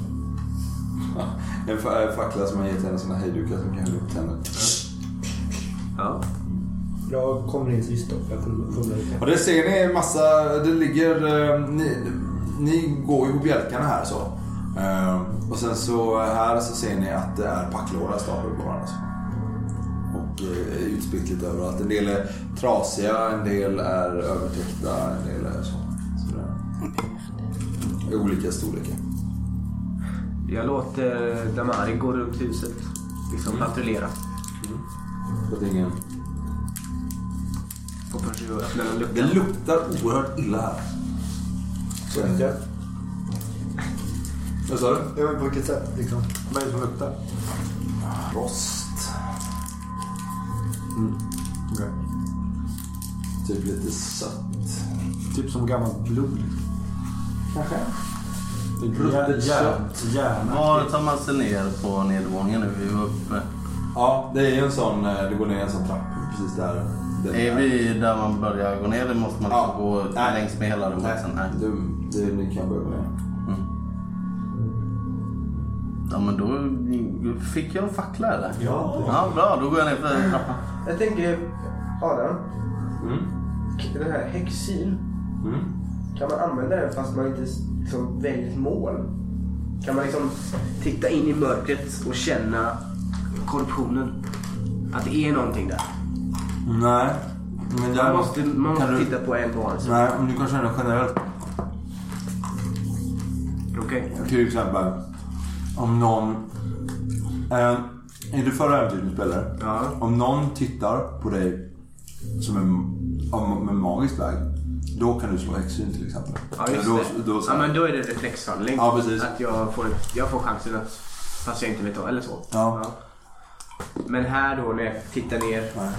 Speaker 5: en fa- eh, fackla som han ger till en av sina hejdukar som kan hälla upp tänder.
Speaker 9: Ja.
Speaker 8: Jag kommer in sist då, för jag fumlar- fumlar lite.
Speaker 5: Och det ser ni en massa, det ligger, eh, ni, ni går ju på bjälkarna här så. Eh, Och sen så här så ser ni att det är packlårar staplade på varandra. så. Och eh, utspritt lite överallt. En del är trasiga, en del är övertäckta, en del är så. så det är olika storlekar.
Speaker 9: Jag låter eh, Damari gå runt huset. Liksom patrullera.
Speaker 5: Så det är ingen...
Speaker 9: Hoppas du öppnar en
Speaker 5: Det
Speaker 9: lucka.
Speaker 5: luktar oerhört illa här.
Speaker 8: Så vet jag.
Speaker 5: Vad sa du?
Speaker 8: Ja, men på vilket sätt liksom? Vad är det som luktar?
Speaker 5: Rost.
Speaker 8: Okej.
Speaker 5: Typ lite sött.
Speaker 8: Typ som gammalt blod.
Speaker 5: Kanske.
Speaker 8: Det
Speaker 5: Bruttet
Speaker 8: är
Speaker 5: kött.
Speaker 8: hjär- hjärna.
Speaker 6: Var tar man sig ner på nedervåningen nu? Vi var uppe.
Speaker 5: Ja, det är ju en sån... eh, Det går ner en sån trapp precis där. där
Speaker 6: Är vi där man börjar gå ner eller måste man
Speaker 5: Ja.
Speaker 6: gå
Speaker 5: Nej.
Speaker 6: längs med hela rummet
Speaker 5: Nej,
Speaker 6: sen? Nej.
Speaker 5: det, det, ni kan börja gå ner.
Speaker 6: Ja men då fick jag en fackla eller?
Speaker 8: Ja,
Speaker 6: Ja bra, då går jag ner för den trappan.
Speaker 9: Jag tänker, Adam.
Speaker 5: Mm.
Speaker 9: Den här häxin.
Speaker 5: Mm.
Speaker 9: Kan man använda den fast man inte liksom, väljer ett mål? Kan man liksom titta in i mörkret och känna korruptionen? Att det är någonting där.
Speaker 5: Nej. Men där
Speaker 9: Man måste, man måste titta på en varelse.
Speaker 5: Nej, men du kan känna generellt. Mm,
Speaker 9: Okej.
Speaker 5: Till exempel. Om någon... Eh, I det förra äventyret du spelade.
Speaker 9: Ja.
Speaker 5: Om någon tittar på dig som en av- med magisk väg. Då kan du slå häxsyn till exempel.
Speaker 9: Ja, just
Speaker 5: då,
Speaker 9: det.
Speaker 5: Då, så
Speaker 9: ja,
Speaker 5: här-
Speaker 9: men då är det reflexhandling.
Speaker 5: Ja, precis.
Speaker 9: Att jag får, jag får chansen att... Fast jag inte vet vad, eller så.
Speaker 5: Ja.
Speaker 9: Men här då när jag tittar ner.
Speaker 5: Nej.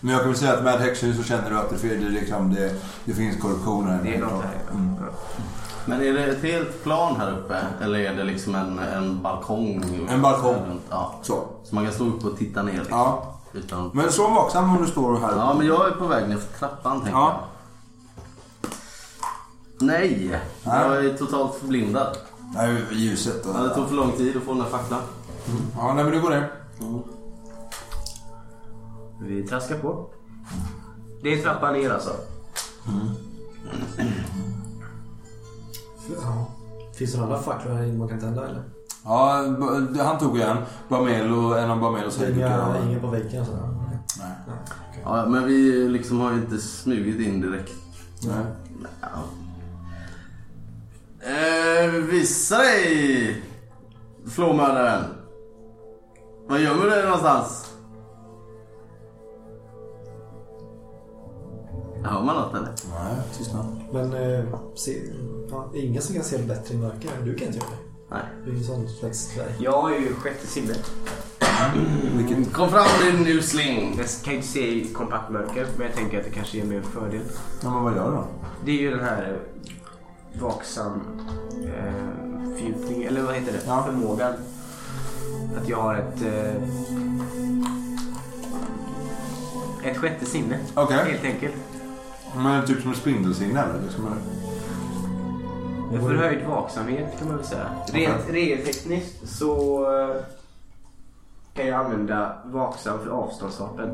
Speaker 5: Men jag kan väl säga att med häxsyn så känner du att det, det, är liksom, det, det finns korruption här.
Speaker 9: Det är något här.
Speaker 5: Mm.
Speaker 9: Ja.
Speaker 6: Men är det ett helt plan här uppe? Eller är det liksom en, en balkong?
Speaker 5: En balkong.
Speaker 6: Runt, Ja.
Speaker 5: Så.
Speaker 6: Så man kan stå upp och titta ner liksom.
Speaker 5: Ja.
Speaker 6: Utan...
Speaker 5: Men slå vaksam om du står här.
Speaker 6: ja men jag är på väg ner för trappan tänker
Speaker 5: Ja.
Speaker 6: ja. Nej, jag är totalt förblindad.
Speaker 5: Nej, ljuset.
Speaker 6: Ja, Det tog för lång tid att få den här facklan.
Speaker 5: Ja, nej, men nu går det.
Speaker 9: Vi traskar på. Det är trappan ner alltså.
Speaker 8: Ja. Finns det några andra facklor här inne man kan tända eller?
Speaker 5: Ja, b- han tog ju en. Bamelo, en av Bamelos
Speaker 8: Inga,
Speaker 5: högdukar.
Speaker 8: inga på väggen och sådär?
Speaker 6: Ja, men vi liksom har ju inte smugit in direkt.
Speaker 5: Nej.
Speaker 6: Ja. Eh, visa dig! Flåmördaren. Vad gömmer du dig någonstans? Hör man något eller?
Speaker 5: Nej, tystnad.
Speaker 8: Men eh, se, ja, det är ingen som kan se bättre i mörker. Du kan inte göra det.
Speaker 6: Nej.
Speaker 8: Du är ju sån slags dvärg.
Speaker 9: Jag är ju sjätte sinne.
Speaker 6: Kom fram din usling.
Speaker 9: Jag kan ju inte se i kompakt mörker, men jag tänker att det kanske ger mig en fördel.
Speaker 5: Ja, men vad gör du då?
Speaker 9: Det är ju den här eh, vaksam eh, fördjupning, eller vad heter det? Förmågan. Att jag har ett... Eh, ett sjätte sinne,
Speaker 5: Okej.
Speaker 9: helt enkelt.
Speaker 5: Men typ som en spindelsinne eller? Liksom, eller?
Speaker 9: En förhöjd vaksamhet kan man väl säga. Rent regeltekniskt så eh, kan jag använda vaksam för avståndsvapen.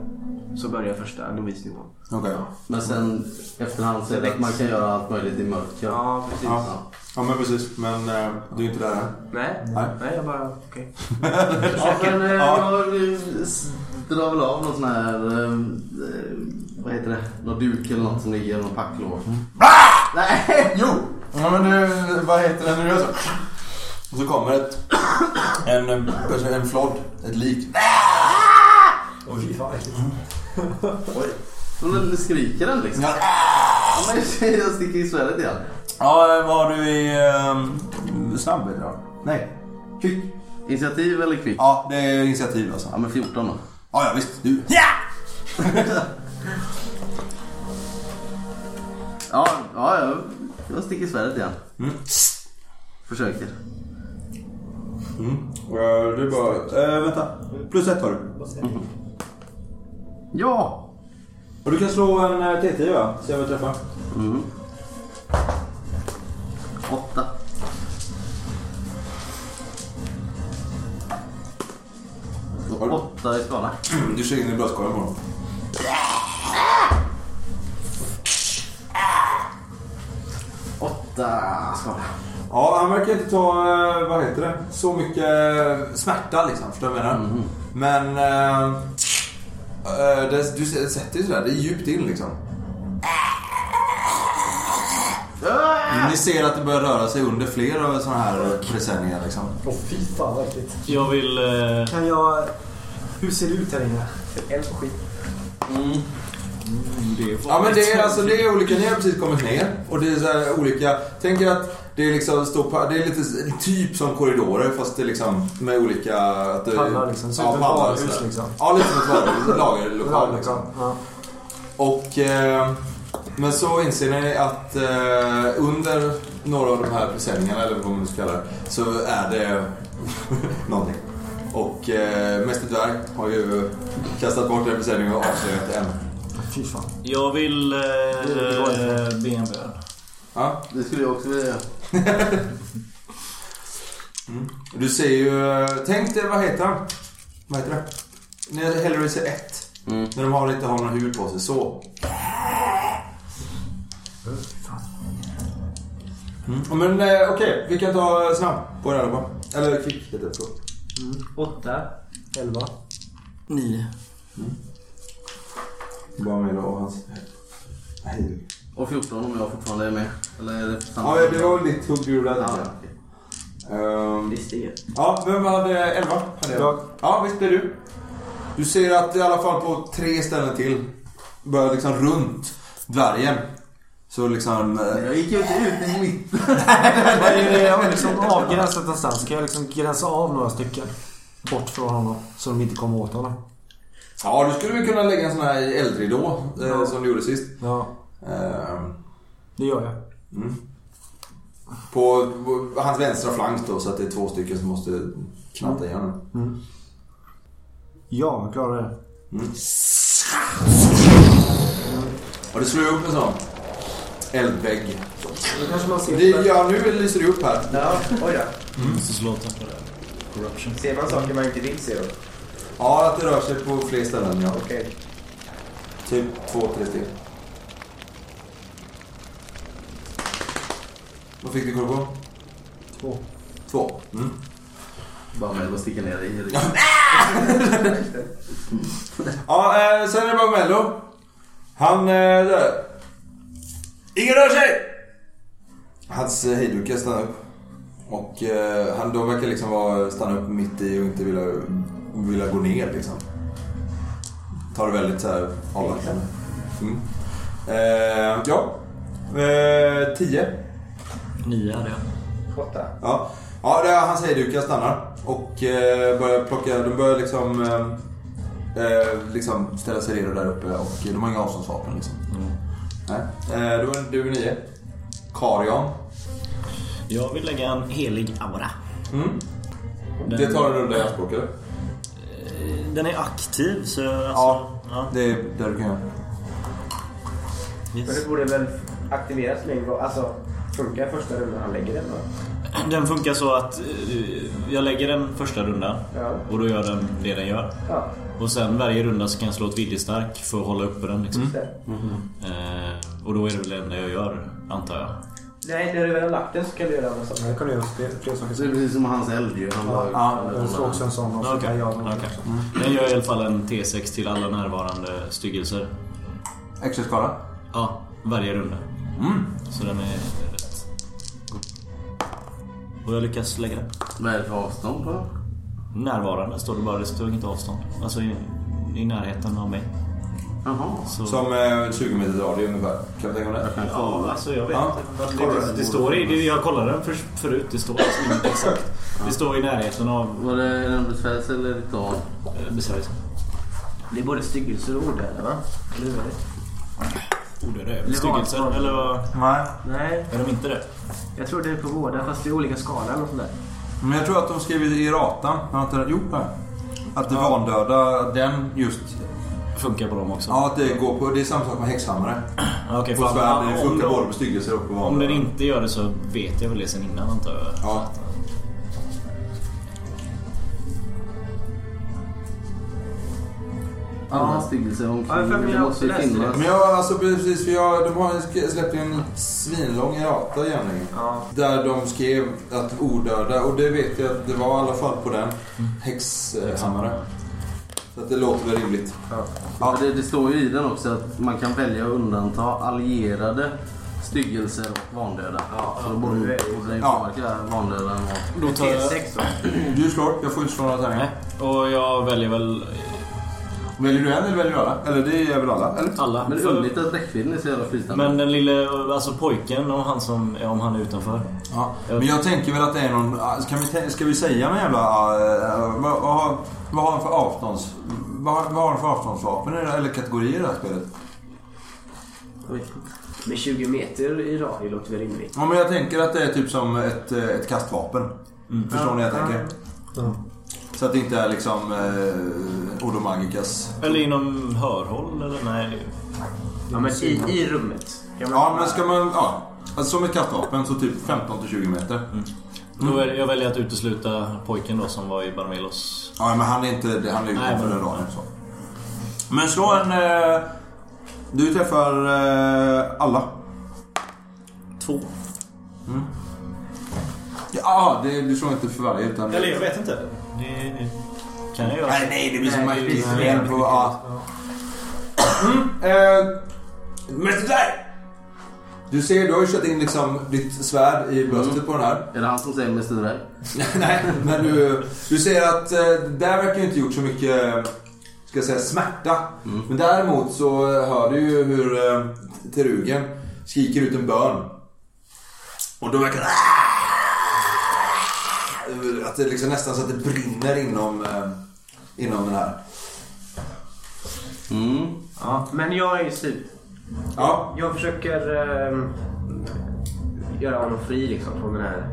Speaker 9: Så börjar första novisnivån.
Speaker 5: Okej.
Speaker 6: Men sen efterhand så är det att man kan göra allt möjligt i mörker.
Speaker 9: Ja, precis.
Speaker 5: Ja. ja, men precis. Men eh, du är inte där än.
Speaker 9: Nej,
Speaker 5: Nej.
Speaker 9: nej, jag bara... Okej.
Speaker 6: Ja, men eh,
Speaker 5: Ja.
Speaker 6: jag eh, s- drar väl av någon sån här... eh, eh, Vad heter det? Någon duk eller något som ligger i någon packlåda. Nej! *laughs*
Speaker 5: Jo! Ja, men du, vad heter den när du gör så? Och så kommer ett, en, eh, alltså en flodd, ett lik.
Speaker 8: Fy fan, äckligt.
Speaker 6: Men den skriker den liksom.
Speaker 5: Ja,
Speaker 6: Ja, men *laughs* jag sticker i svärdet igen.
Speaker 5: ja vad har du i um, snabb idag? Nej. Kvick.
Speaker 6: Initiativ eller kvick?
Speaker 5: Ja, det är initiativ alltså.
Speaker 6: Ja, men 14 då.
Speaker 5: Ja, ja visst. Du. Ja!
Speaker 6: Ja, ja jag, jag sticker i svärdet igen.
Speaker 5: Mm.
Speaker 6: Försöker.
Speaker 5: Eh, Du bara... Äh, vänta. Plus ett har du.
Speaker 6: Ja!
Speaker 5: Och du kan slå en eh, T10 va? Se vad du träffar.
Speaker 6: Mm. Åtta. Åtta i skala.
Speaker 5: Du *clears throat* kör in i bröstkorgen på honom.
Speaker 6: Åtta skala.
Speaker 5: Ja, han verkar inte ta, eh, vad heter det, så mycket eh, smärta liksom. Förstår du vad jag menar? Men... eh, eh, det, du s- sätter ju sådär, det är djupt in liksom. Ni ser att det börjar röra sig under fler av sådana här presenningar liksom.
Speaker 8: Åh fy fan vad äckligt.
Speaker 7: Jag vill... Eh,
Speaker 8: Kan jag... Hur ser det ut här inne? Eld och skit.
Speaker 5: Ja men det är alltså det är olika, ni har precis kommit ner och det är så här olika, tänk er att det är liksom står på, det är lite s- typ som korridorer fast det är liksom med olika... Att det,
Speaker 8: Pallar liksom, så
Speaker 5: ja,
Speaker 8: ett
Speaker 5: pallar och
Speaker 8: varuhus,
Speaker 5: sådär.
Speaker 8: liksom.
Speaker 5: Ja lite som ett
Speaker 8: *laughs*
Speaker 5: varuhus, lagerlokal liksom.
Speaker 8: Ja.
Speaker 5: Och, eh, men så inser ni att eh, under några av de här presenningarna, eller vad man nu ska kalla det, så är det *laughs* någonting. Och eh, Mäster Dvärg har ju kastat bort den presenningen och avslöjat en.
Speaker 8: Fy fan.
Speaker 7: jag vill... Eh, be en bön.
Speaker 5: Ja.
Speaker 6: Det skulle jag också vilja göra.
Speaker 5: Du ser ju, eh, tänk dig, vad heter han? Vad heter det? När Hellraiser 1. När de har, inte har någon huvud på sig, så. Mm. Men eh, okej, vi kan ta snabb på den här allihopa. Eller kvick heter det. förlåt.
Speaker 9: Åtta.
Speaker 8: Elva.
Speaker 10: Nio.
Speaker 5: Bara med och hans... Hej.
Speaker 6: Och 14 om jag fortfarande är med. Eller är det samma?
Speaker 5: Ja, det var väl ditt hugg du
Speaker 6: Ja,
Speaker 5: gjorde.
Speaker 6: okej.
Speaker 5: Ehm,
Speaker 9: Visst är det.
Speaker 5: Ja, vem hade 11? Hade jag. Ja, visst det är du. Du ser att i alla fall på tre ställen till börjar liksom runt dvärgen. Så liksom... eh,
Speaker 6: Jag gick ju inte ut i mitt.
Speaker 8: Vad är det jag har liksom avgränsat någonstans? Ska jag liksom gränsa av några stycken? Bort från honom. Så de inte kommer åt honom.
Speaker 5: Ja, du skulle väl kunna lägga en sån här eldridå eh, som du gjorde sist.
Speaker 8: Ja,
Speaker 5: Ehm,
Speaker 8: det gör jag.
Speaker 5: på, på hans vänstra flank då, så att det är två stycken som måste knatta igen.
Speaker 8: Ja, jag klarar det.
Speaker 5: Och du slår upp en sån. eldvägg.
Speaker 9: Då kanske man ser...
Speaker 5: Det, ja, nu lyser det upp här.
Speaker 9: Ja, oj då.
Speaker 10: Måste slå attack på det. här. Corruption.
Speaker 9: Ser man saker man inte vill se då?
Speaker 5: Ja, att det rör sig på fler ställen, ja.
Speaker 9: Okej.
Speaker 5: Typ två, tre steg. Vad fick du koll på?
Speaker 8: Två.
Speaker 5: Två. Mm.
Speaker 6: Bara med att sticka ner dig i liksom- ryggen.
Speaker 5: Ja, eh, sen är det bara Mello. Han... Eh, där. Ingen rör sig! Hans eh, hejdukar stannar upp. Och eh, han, de verkar liksom vara, stanna upp mitt i och inte vilja, vilja gå ner liksom. Tar det väldigt såhär avvaktande. Mm. Eh, ja. Eh, tio.
Speaker 10: Nio hade jag.
Speaker 9: Åtta.
Speaker 5: Ja, ja det är hans hejdukar stannar och eh, börjar plocka, de börjar liksom, eh, eh, liksom ställa sig redo där uppe och de har inga avståndsvapen liksom.
Speaker 10: Mm.
Speaker 5: Nej. Eh, du, är- du är nio. Karion.
Speaker 10: Jag vill lägga en helig aura.
Speaker 5: Mm.
Speaker 10: Den-
Speaker 5: Det tar en runda i anspråk eller?
Speaker 10: Den är aktiv så... jag- Alltså,
Speaker 5: Ja.
Speaker 10: ja.
Speaker 5: Det är det du kan göra.
Speaker 9: Men
Speaker 10: Yes.
Speaker 9: det borde väl aktiveras längre? Alltså, funkar första rundan han lägger den då?
Speaker 10: Den funkar så att eh, jag lägger den första rundan
Speaker 9: Ja.
Speaker 10: och då gör den det den gör.
Speaker 9: Ja,
Speaker 10: Och sen varje runda så kan jag slå ett viljestark för att hålla uppe den. Liksom.
Speaker 9: just det.
Speaker 10: Eh, och då är det väl det enda jag gör, antar jag.
Speaker 9: Nej, när du väl har lagt den så kan du göra andra
Speaker 8: Det här
Speaker 9: saker.
Speaker 8: kan du göra fler, fler saker.
Speaker 6: Så det är precis som hans eld ju. Han bara...
Speaker 8: Ja, jag slår också en sån. Och så
Speaker 10: Okej,
Speaker 8: kan jag göra
Speaker 10: okej. Den gör i alla fall en T6 till alla närvarande styggelser.
Speaker 5: Extra skada.
Speaker 10: Ja, varje runda. Så den är rätt. Och jag lyckas lägga den.
Speaker 6: Vad är det för avstånd på?
Speaker 10: Närvarande står det bara, det står inget avstånd. Alltså i, i närheten av mig.
Speaker 6: Jaha.
Speaker 10: Så,
Speaker 5: Som eh, 20 meters radie ungefär. Kan du tänka om det?
Speaker 10: ja, alltså jag vet
Speaker 5: Ja.
Speaker 10: inte. Det, det, det står i, det, jag kollade den för, förut, det står alltså inte exakt. Det står i närheten av
Speaker 6: Var det en besvärjelse eller ritual?
Speaker 10: eh, besvärjelsen.
Speaker 9: Det är både styggelser och ordöda va? Eller hur är det?
Speaker 10: Odöda styggelser, eller vad?
Speaker 5: Nej.
Speaker 9: Nej,
Speaker 10: Är de inte det?
Speaker 9: jag tror det är på båda fast det är olika skala eller något sånt där.
Speaker 5: Men jag tror att de skrev i ratan. Har inte det- Jo, här. Att det vandöda, att den just...
Speaker 10: Funkar på dem också?
Speaker 5: Ja, att det går på... Det är samma sak med häxhammare.
Speaker 10: Ja, okej,
Speaker 5: På
Speaker 10: för
Speaker 5: svärd, det
Speaker 10: om-
Speaker 5: funkar
Speaker 10: om-
Speaker 5: både på styggelser och på
Speaker 10: Om
Speaker 5: vanliga.
Speaker 10: den inte gör det så vet jag väl det sen innan antar jag.
Speaker 5: Ja.
Speaker 6: Alla styggelser omkring.
Speaker 9: Ja, för
Speaker 6: det
Speaker 9: jag
Speaker 6: måste ju
Speaker 9: läste det.
Speaker 6: finnas.
Speaker 5: Men jag, alltså precis, för jag, de har sk- släppt en svinlång rata jämligen.
Speaker 9: Ja.
Speaker 5: Där de skrev att odöda, och det vet jag att det var i alla fall på den, häxhammare. Så att det låter väl rimligt.
Speaker 6: Ja. Det, det står ju i den också att man kan välja att undanta allierade styggelser och vandöda. så då borde borde den ju
Speaker 5: Ja.
Speaker 6: påverka vandöda. och-
Speaker 10: Då tar jag...
Speaker 9: T6 då.
Speaker 5: Du slår, jag får inte slå några tärningar.
Speaker 10: Nej. Och jag väljer väl
Speaker 5: Väljer du en eller väljer du alla? Eller det är väl alla? Eller?
Speaker 10: alla.
Speaker 6: Men det är
Speaker 10: För-
Speaker 6: underligt att räckvidden är så jävla flytande.
Speaker 10: Men den lille, alltså pojken och han som, om han är utanför.
Speaker 5: Ja. Men jag tänker väl att det är någon... Kan vi, tän- ska vi säga någon jävla... eh, vad, vad, har- vad har han för avstånds... Vad, har- vad har han för avståndsvapen i det- eller kategorier i det här spelet?
Speaker 9: Med 20 meter i radie låter väl rimligt.
Speaker 5: Ja, men jag tänker att det är typ som ett, eh, ett kastvapen. Förstår ni vad jag tänker?
Speaker 8: Ja.
Speaker 5: Så att det inte är liksom eh, Odo Magicas.
Speaker 10: Eller inom hörhåll eller nej.
Speaker 9: Ja men i, i rummet. Kan man-
Speaker 5: Ja, men ska man... Ja, alltså som ett kastvapen så typ 15 till 20 meter.
Speaker 10: Då väl, jag väljer att utesluta pojken då som var i Barmelos.
Speaker 5: Ja, men han är inte... Han är
Speaker 10: Nej,
Speaker 5: utanför
Speaker 10: men-
Speaker 5: den raden. Så. Men slå en... Eh, du träffar eh, alla. Mm.
Speaker 10: Två.
Speaker 5: Ja, det, du slår inte för varje utan...
Speaker 10: Eller jag vet inte. Det kan jag göra.
Speaker 5: Nej, nej, det blir så
Speaker 9: Nej, det blir
Speaker 5: mycket
Speaker 9: så
Speaker 5: fel på... Ja. Mm, eh, Mäster Clay! Du ser, du har ju kört in liksom ditt svärd i bröstet på den
Speaker 6: *laughs*
Speaker 5: här.
Speaker 6: Är det han som säger Mr. Drag?
Speaker 5: Nej, men du, du ser att eh, där verkar ju inte gjort så mycket eh, ska jag säga, smärta. Men däremot så hör du ju hur eh, terugen skriker ut en bön. Och då verkar det... Att det liksom nästan så att det brinner inom, eh, inom den här.
Speaker 6: Mm.
Speaker 9: Men jag är ju slut.
Speaker 5: Ja,
Speaker 9: Jag försöker ehm, göra honom fri liksom från den här.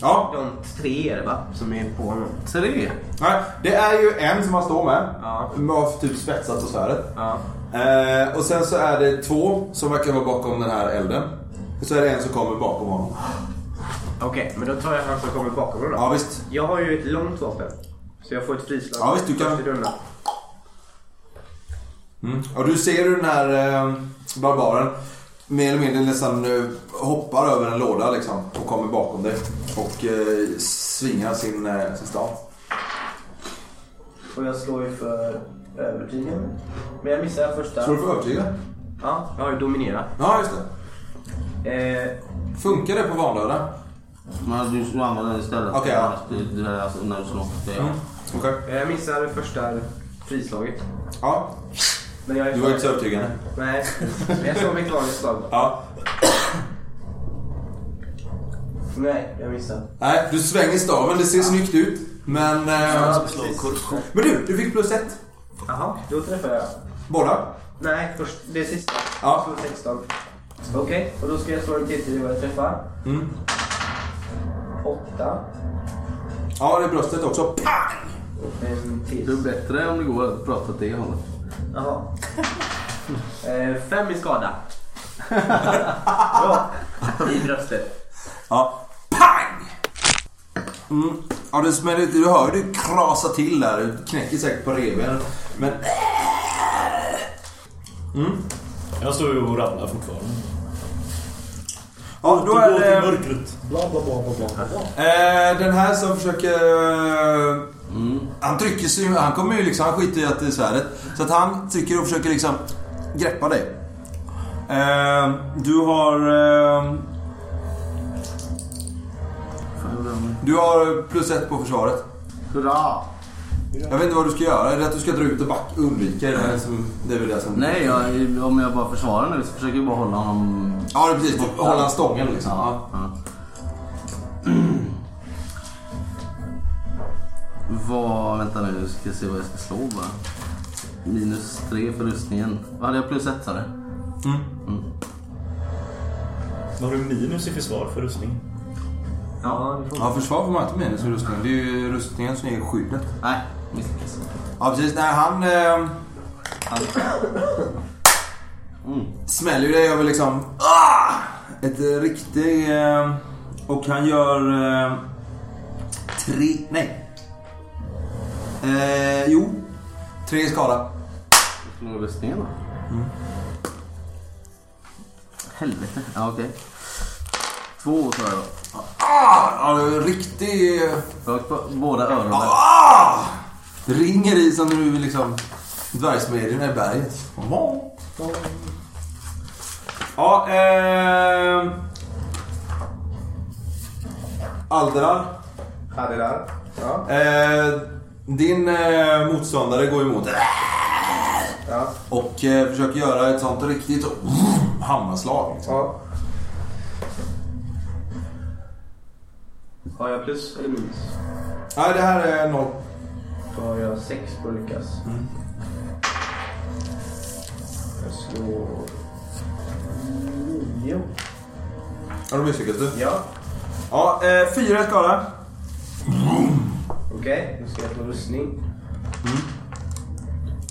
Speaker 5: ja.
Speaker 9: De tre är det va? Som är på honom.
Speaker 6: Tre?
Speaker 5: Nej, det är ju en som han står med.
Speaker 9: Ja.
Speaker 5: Med typ spetsat på svärdet.
Speaker 9: Ja.
Speaker 5: Eh, och sen så är det två som verkar vara bakom den här elden. Och så är det en som kommer bakom honom.
Speaker 9: Okej, men då tar jag han som kommer bakom mig då.
Speaker 5: Ja, visst.
Speaker 9: Jag har ju ett långt vapen. Så jag får ett frislag.
Speaker 5: Ja, visst, du kan-
Speaker 9: Första rundan.
Speaker 5: Mm. Och du ser hur den här eh, barbaren mer eller mindre nästan eh, hoppar över en låda liksom och kommer bakom dig och eh, svingar sin, eh, sin stav.
Speaker 9: Och jag slår ju för övertygande. Men jag missar första.
Speaker 5: Slår du för övertyga?
Speaker 9: Ja, jag har ju dominerat.
Speaker 5: Ja, just det.
Speaker 9: Eh,
Speaker 5: Funkar det på vanlöda?
Speaker 6: Men alltså, du skulle använda den istället.
Speaker 5: Okej, ja.
Speaker 6: Det, det är alltså när du slår. Det är jag.
Speaker 5: Mm. Okej.
Speaker 9: jag missar första frislaget.
Speaker 5: Ja,
Speaker 9: Men jag är
Speaker 5: du var inte så övertygande.
Speaker 9: Nej, men jag slår mitt vanliga slag.
Speaker 5: Ja.
Speaker 9: Nej, jag missar.
Speaker 5: Nej, du svänger staven. Det ser snyggt ut. Men... Eh, men du, du fick plus ett.
Speaker 9: Jaha, då träffar jag.
Speaker 5: Båda.
Speaker 9: Nej, först, det sista.
Speaker 5: Ja.
Speaker 9: Jag slår 16. Okej, och då ska jag slå en till till vad jag träffar.
Speaker 5: Mm.
Speaker 9: 8.
Speaker 5: Ja, det är bröstet också. Pang!
Speaker 9: En till.
Speaker 6: Det är bättre om det går att prata åt det hållet.
Speaker 9: Jaha. *laughs* Eh, fem i *laughs* skada. Bra. I bröstet.
Speaker 5: Ja. Pang! Mm. Ja, det smäller ut. Du hör det krasa till där. Du knäcker säkert på revbenen. Men...
Speaker 7: Jag står ju och rabblar fortfarande.
Speaker 5: Ja, då är
Speaker 7: Återgå till
Speaker 5: det...
Speaker 7: mörkret. Bla, bla, bla, bla, bla, bla, bla.
Speaker 5: Eh, den här som försöker... eh, Han trycker sig Han kommer ju liksom... Han skiter i att det är svärdet. Så att han trycker och försöker liksom greppa dig. Eh, du har... Eh, du har plus ett på försvaret.
Speaker 6: Hurra!
Speaker 5: Jag vet inte vad du ska göra. Är det att du ska dra ut och back, undvika? Det, här som, det är väl det som...
Speaker 6: Nej, jag, om jag bara försvarar nu så försöker jag bara hålla honom...
Speaker 5: Ja, det är precis. Typ hålla stången liksom. Ja.
Speaker 6: Ja. *clears throat* Vad... Vänta nu, ska jag se vad jag ska slå bara. Minus tre för rustningen. Vad hade jag plus ett sa du?
Speaker 5: Mm.
Speaker 7: Har du minus i försvar för rustning?
Speaker 9: Ja, det får
Speaker 5: ja, försvar får man inte minus i rustningen. Det är ju rustningen som ger skyddet.
Speaker 6: Nej, misslyckas.
Speaker 5: Ja, precis. Nej, han... Eh, han smäller ju dig över liksom... Ah! Ett eh, riktigt... Eh, och han gör... Eh, tre... Nej. Eh, jo. Tre i skada.
Speaker 6: Slår rustningen då?
Speaker 5: Mm.
Speaker 6: Helvete. Ja, okej. Två sa jag då.
Speaker 5: Ah! Ja, det är riktig... eh,
Speaker 6: Rakt på båda öronen.
Speaker 5: Ah! Det ringer i som nu liksom dvärgsmedierna i berget. Ja, ehm... Aldrar.
Speaker 9: Ja, det där. Ja,
Speaker 5: Eh, din eh, motståndare går emot dig
Speaker 9: ja,
Speaker 5: och eh, försöker göra ett sånt riktigt hammarslag. Liksom.
Speaker 9: ja. Har jag plus eller minus?
Speaker 5: Nej, det här är noll.
Speaker 9: Då har jag sex på att lyckas. Jag slår... Nio.
Speaker 5: Har du misslyckats du?
Speaker 9: Ja,
Speaker 5: Ja, eh, fyra i skada.
Speaker 9: okej. Nu ska jag slå rustning. Mm.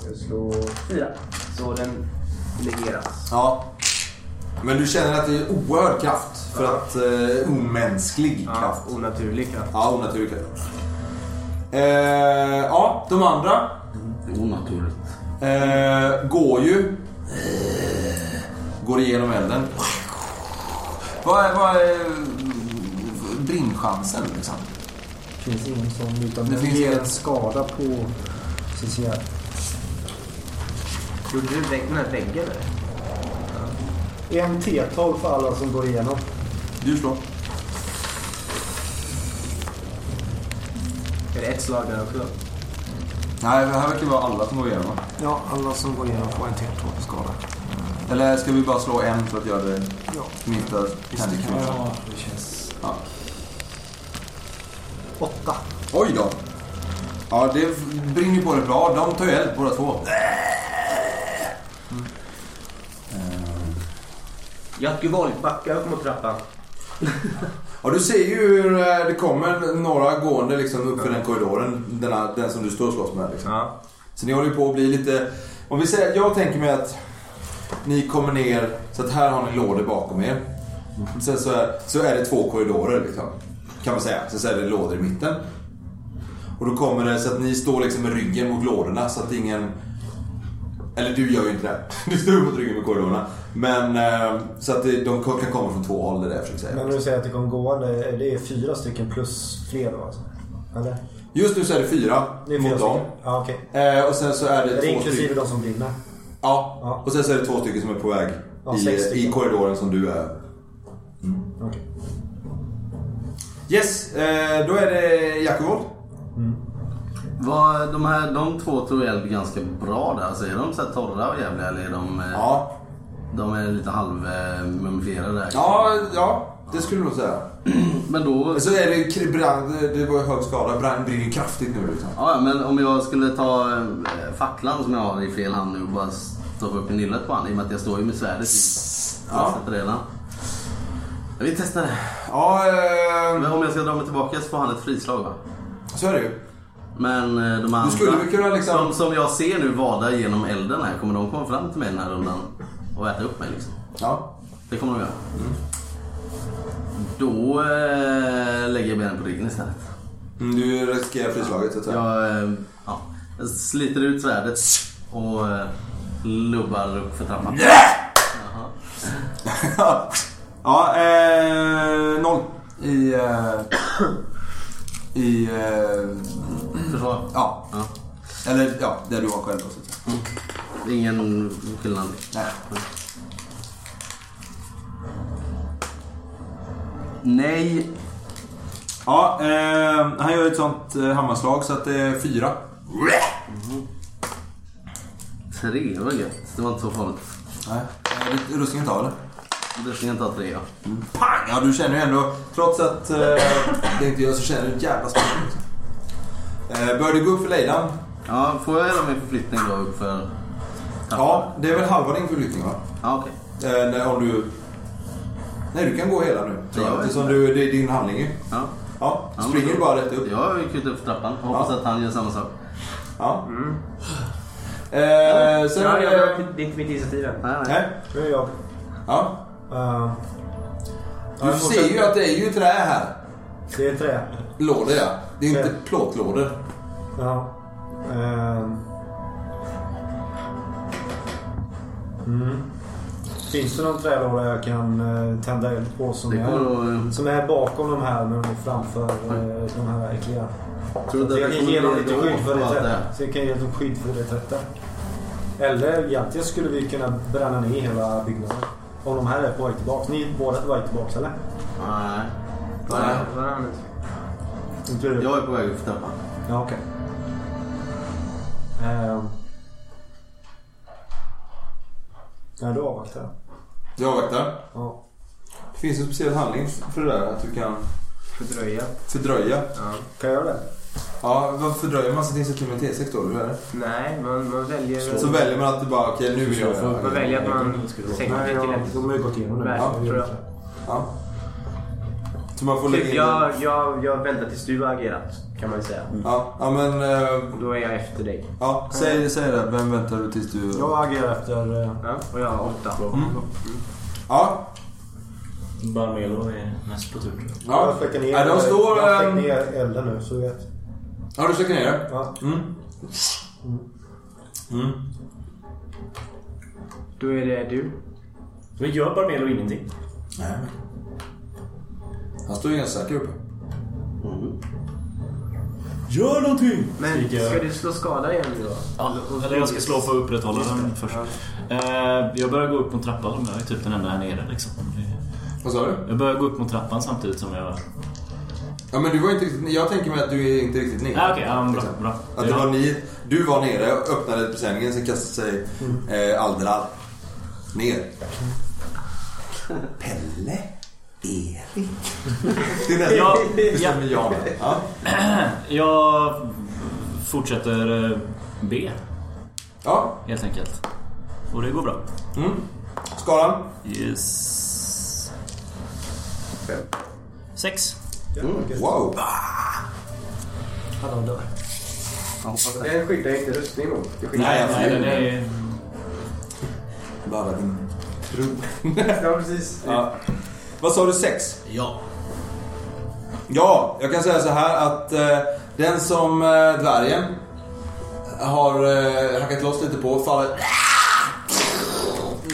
Speaker 9: Jag slår fyra. Så den negeras.
Speaker 5: Ja. Men du känner att det är oerhörd kraft. För att eh, omänsklig kraft.
Speaker 9: onaturlig kraft.
Speaker 5: Ja, onaturlig kraft. Eh, ja, de andra
Speaker 6: Onaturligt.
Speaker 5: eh, går ju... eh, Går igenom elden. Vad är, vad är brinnchansen liksom?
Speaker 8: finns ingen sån utan
Speaker 5: Det
Speaker 8: det
Speaker 5: finns
Speaker 8: ger
Speaker 5: ett-
Speaker 8: en skada på Cecilia.
Speaker 9: Gjorde du vägg- den här väggen eller?
Speaker 8: En T12 för alla som går igenom.
Speaker 5: Du slår.
Speaker 9: Är det ett slag där också?
Speaker 5: Nej, det här verkar vara alla som går igenom. va?
Speaker 8: Ja, alla som går igenom får en T12 i skada.
Speaker 5: Eller ska vi bara slå en för att göra det
Speaker 8: Ja,
Speaker 5: minsta penningkronan?
Speaker 8: ja det känns...
Speaker 5: Ja.
Speaker 8: Åtta.
Speaker 5: Oj då! Ja, det brinner ju på det bra. De tar ju eld båda två.
Speaker 9: Jackevold, backa upp mot trappan.
Speaker 5: Ja, du ser ju hur eh, det kommer några gående liksom upp för den korridoren. Denna, den som du står och slåss med. Liksom.
Speaker 9: Ja.
Speaker 5: Så ni håller ju på att bli lite Och vi säger, jag tänker mig att ni kommer ner, så att här har ni lådor bakom er. Sen så är, så är det två korridorer liksom. Kan man säga. Sen så är det lådor i mitten. Och då kommer det så att ni står liksom med ryggen mot lådorna så att ingen... Eller du gör ju inte det. *laughs* Du står ju mot ryggen mot korridorerna. Men eh, så att det- de kan komma från två håll det är det jag försöker säga.
Speaker 8: Men du säger att det kommer gående, det är fyra stycken plus fler då alltså? Eller?
Speaker 5: Just nu så är det fyra
Speaker 8: Det är fyra
Speaker 5: mot dem.
Speaker 8: stycken. Ja, okej.
Speaker 5: Eh, och sen så är det,
Speaker 8: Det är
Speaker 5: två
Speaker 8: inklusive
Speaker 5: stycken.
Speaker 8: de som brinner.
Speaker 5: Ja. och sen så är det två stycken som är på väg
Speaker 8: Ja, sex
Speaker 5: i, i
Speaker 8: stycken.
Speaker 5: korridoren som du är.
Speaker 8: Okej.
Speaker 5: Yes, eh, då är det Jakob.
Speaker 6: Vad, de, här, de två tror jag hjälper ganska bra där. Alltså, är de så här torra och jävliga eller är de... eh,
Speaker 5: Ja.
Speaker 6: De är lite halvmumifierade där.
Speaker 5: Ja, ja, det skulle du nog säga.
Speaker 6: Men då...
Speaker 5: Så är det kri- brand, det var ju hög skada. Brand brinner ju kraftigt nu liksom.
Speaker 6: Ja, ja, men om jag skulle ta eh, facklan som jag har i fel hand nu och bara stoppa upp en illet på han i och med att jag står ju med svärdet i.
Speaker 5: Ja.
Speaker 6: Ja. Redan. Jag vill testa det.
Speaker 5: Ja, eh,
Speaker 6: Men om jag ska dra mig tillbaka så får han ett frislag va?
Speaker 5: Så är det ju.
Speaker 6: Men eh, de andra
Speaker 5: skulle väl kunna liksom-
Speaker 6: som, som jag ser nu vada genom elden här, kommer de komma fram till mig den här rundan och äta upp mig liksom?
Speaker 5: Ja.
Speaker 6: Det kommer de göra. Då eh, lägger jag benen på ryggen istället.
Speaker 5: Mm, du riskerar frislaget så att säga.
Speaker 6: Jag, eh, ja, jag sliter ut svärdet och eh, lubbar upp
Speaker 5: *laughs*
Speaker 6: för trappan.
Speaker 5: Ja, eh, noll i... Eh, I... Eh,
Speaker 6: Försvar?
Speaker 5: Ja. Eller ja, där du var själv då så att säga.
Speaker 6: Det är ingen skillnad.
Speaker 5: Nej.
Speaker 6: Nej.
Speaker 5: Ja, eh, han gör ett sånt eh, hammarslag så att det är fyra.
Speaker 6: Tre, det var gött. Det var inte så farligt.
Speaker 5: Nej. Eh, Ruskingen tar eller?
Speaker 6: Ruskingen tar tre ja.
Speaker 5: Pang! Ja, du känner ju ändå, trots att eh, det inte gör så känner du ett jävla spel. liksom. Eh, börjar du gå upp för lejdan?
Speaker 6: Ja, får jag göra min förflyttning då upp för...
Speaker 5: Ja, det är väl halva din förflyttning va?
Speaker 6: Ja, okej.
Speaker 5: Eh, när- om du... Nej, du kan gå hela nu. Tror
Speaker 6: Ja,
Speaker 5: jag.
Speaker 6: jag
Speaker 5: Eftersom
Speaker 6: vet.
Speaker 5: du, det är din handling ju.
Speaker 6: Ja.
Speaker 5: Ja,
Speaker 6: Ja,
Speaker 5: springer
Speaker 6: men
Speaker 5: du
Speaker 6: då-
Speaker 5: bara rätt upp.
Speaker 6: Jag gick ut upp för trappan. Hoppas att han gör samma sak.
Speaker 5: Ja. Eh, sen
Speaker 9: ja,
Speaker 5: är
Speaker 9: jag,
Speaker 5: det...
Speaker 9: det är inte mitt initiativ än.
Speaker 5: Nej.
Speaker 8: Nu är jag.
Speaker 5: Ja.
Speaker 8: Uh,
Speaker 5: Du ser ju att det är ju trä här.
Speaker 8: Det är trä.
Speaker 5: Lådor ja. Det är ju inte
Speaker 8: Trä.
Speaker 5: plåtlådor.
Speaker 8: Ja. Ehm. Mm. Finns det någon trälåda jag kan eh, tända eld på som,
Speaker 6: Det kommer
Speaker 8: är,
Speaker 6: att- Mm.
Speaker 8: som är bakom de här men framför eh, de här äckliga?
Speaker 6: Tror du
Speaker 8: Så
Speaker 6: att
Speaker 8: jag
Speaker 6: det
Speaker 8: kan
Speaker 6: kommer
Speaker 8: ge dem
Speaker 6: bli
Speaker 8: lite
Speaker 6: då
Speaker 8: skydd för
Speaker 6: och allt det
Speaker 8: reträtten.
Speaker 6: här?
Speaker 8: Så jag kan ge dem skydd för reträtten. Eller egentligen skulle vi kunna bränna ner hela byggnaden. Om de här är på väg tillbaka. Ni är båda på väg tillbaka eller?
Speaker 6: Nej.
Speaker 8: Inte du?
Speaker 6: Jag är på väg upp för trappan.
Speaker 8: Ja, okej. Ehm. Ja, då avvaktar jag.
Speaker 5: Jag avvaktar.
Speaker 8: Ja.
Speaker 5: Det finns en speciell handling för det där. Att du kan
Speaker 9: Fördröja.
Speaker 5: fördröja.
Speaker 8: Kan jag göra det?
Speaker 5: Ja, vad fördröjer man sitt initiativ med T6 då? Eller?
Speaker 9: Nej, man, man väljer...
Speaker 8: Mm.
Speaker 5: Så väljer man att du bara, okej nu vill jag göra
Speaker 9: Man
Speaker 5: det.
Speaker 9: väljer att man sänker
Speaker 8: Nej,
Speaker 9: sig till
Speaker 8: jag,
Speaker 9: ett.
Speaker 8: de har ju gått igenom nu.
Speaker 9: Nej,
Speaker 8: så vi gör
Speaker 9: tror jag.
Speaker 8: inte det.
Speaker 5: Ja. Så man får lägga
Speaker 9: Typ,
Speaker 5: in den. Mm.
Speaker 9: jag, jag, jag väntar tills du har agerat, kan man ju säga.
Speaker 5: Ja, ja men... eh,
Speaker 9: Då är jag efter dig.
Speaker 5: Ja, säg, säg det. Vem väntar du tills du...
Speaker 8: Jag agerar efter... eh,
Speaker 9: Ja, och jag har åtta.
Speaker 5: Ja,
Speaker 7: Barmelo är näst på tur.
Speaker 5: ja.
Speaker 8: Jag släcker ner,
Speaker 5: ja de står...
Speaker 8: jag släcker
Speaker 5: ehm,
Speaker 8: ner elden nu så du vet.
Speaker 5: Ja, du släcker ner det.
Speaker 8: Ja.
Speaker 5: Mm. Mm.
Speaker 9: Då är det du.
Speaker 7: Men gör Barmelo ingenting?
Speaker 5: Nej, men... Han står ju ganska säker uppe.
Speaker 7: Gör någonting!
Speaker 9: Men
Speaker 7: Skriker jag.
Speaker 9: ska du slå skada igen nu då?
Speaker 7: Ja, eller jag ska slå för att upprätthålla den först. Eh, Jag börjar gå upp mot trappan. Jag är typ den enda här nere liksom.
Speaker 5: Vad sa du?
Speaker 7: Jag börjar gå upp mot trappan samtidigt som jag...
Speaker 5: Ja, men du var inte riktigt... Jag tänker mig att du är inte riktigt nere.
Speaker 7: Ja, okej. Ja, men bra,
Speaker 5: Liksom.
Speaker 7: bra.
Speaker 5: Att det
Speaker 7: Ja.
Speaker 5: var ni... Du var nere, öppnade presenningen, sen kastade sig
Speaker 7: Mm.
Speaker 5: eh, Aldrar
Speaker 7: *laughs*
Speaker 5: ner. Pelle?
Speaker 7: *laughs*
Speaker 5: Erik? Det är
Speaker 7: Ja,
Speaker 5: nästan... Det
Speaker 7: ja.
Speaker 5: stämmer jag med. Ja.
Speaker 7: Jag fortsätter eh, be,
Speaker 5: ja.
Speaker 7: helt enkelt. Och det går bra.
Speaker 5: Mm. Skalan?
Speaker 7: Yes.
Speaker 5: Fem.
Speaker 7: Sex.
Speaker 5: Wow.
Speaker 8: Han dör.
Speaker 9: Den skyddar inte rustning mot. Det skyddar
Speaker 5: Nej,
Speaker 7: Nej,
Speaker 5: jag
Speaker 7: den
Speaker 5: flyger.
Speaker 7: är
Speaker 5: Ladda din tro.
Speaker 8: Ja, precis.
Speaker 5: Ja. Vad sa du, sex?
Speaker 7: Ja.
Speaker 5: Ja, jag kan säga så här att eh, den som eh, dvärgen har eh, hackat loss lite på faller...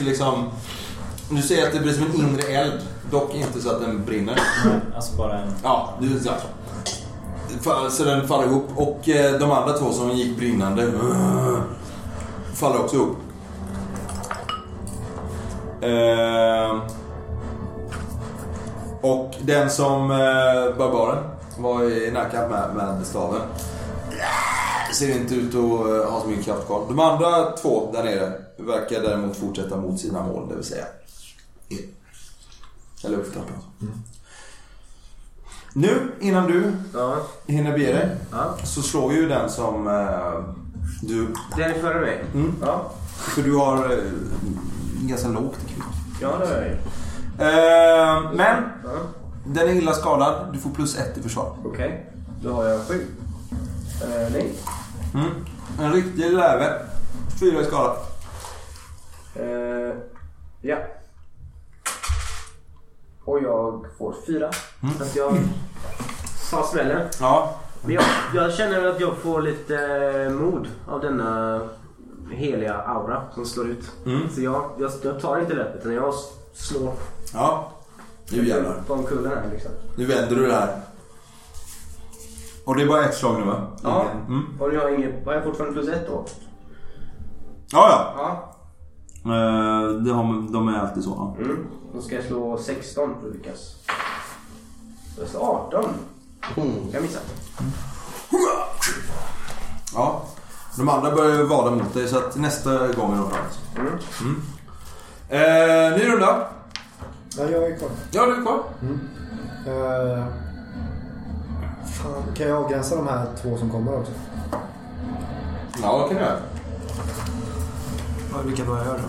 Speaker 5: Liksom... Du ser att det blir som en inre eld. Dock inte så att den brinner.
Speaker 7: Alltså bara en...
Speaker 5: Ja, det är så. här. Fa- Så den faller ihop och eh, de andra två som gick brinnande eh, faller också ihop. Eh, Och den som eh, barbaren var i närkamp med, med staven eh, ser inte ut att eh, ha så mycket kraft kvar. De andra två där nere verkar däremot fortsätta mot sina mål, det vill säga. E. Eller upp för trappan. Nu, innan du hinner bege dig, så slår ju den som eh, du...
Speaker 9: Den är före mig.
Speaker 5: Mm.
Speaker 9: Ja.
Speaker 5: För du har eh, ganska lågt i kvick.
Speaker 9: Ja, det är jag
Speaker 5: Eh, men den är illa skadad. Du får plus ett i försvar.
Speaker 9: Okej. Då har jag sju. Eh, nej.
Speaker 5: Mm. En riktig läve. Fyra i skada.
Speaker 9: Eh, ja. Och jag får fyra. Så att jag tar smällen.
Speaker 5: Ja.
Speaker 9: Men jag, jag känner att jag får lite eh, mod av denna heliga aura som slår ut.
Speaker 5: Mm.
Speaker 9: Så jag, jag, jag tar inte det utan jag s- slår
Speaker 5: Ja. Nu jävlar.
Speaker 9: på omkullen här liksom.
Speaker 5: Nu vänder du det här. Och det är bara ett slag nu va?
Speaker 9: Ja.
Speaker 5: Mm.
Speaker 9: Och nu har jag, inget, har jag fortfarande plus ett då?
Speaker 5: Ja, ja.
Speaker 9: Ja.
Speaker 5: Eh, det har, de är alltid så. ja.
Speaker 9: Mm. Då ska jag slå 16 på Lukas. Jag slår 18.
Speaker 7: Mm.
Speaker 9: Jag missar.
Speaker 5: Ja. De andra börjar ju vada mot dig så att nästa gång är de framåt.
Speaker 9: Mm.
Speaker 5: Mm. Eh, ny runda.
Speaker 8: Ja, jag är kvar.
Speaker 5: Ja, du är kvar.
Speaker 8: Eh, fan, kan jag avgränsa de här två som kommer också?
Speaker 5: Ja, det kan du göra.
Speaker 4: Ja, Vilka börjar jag då?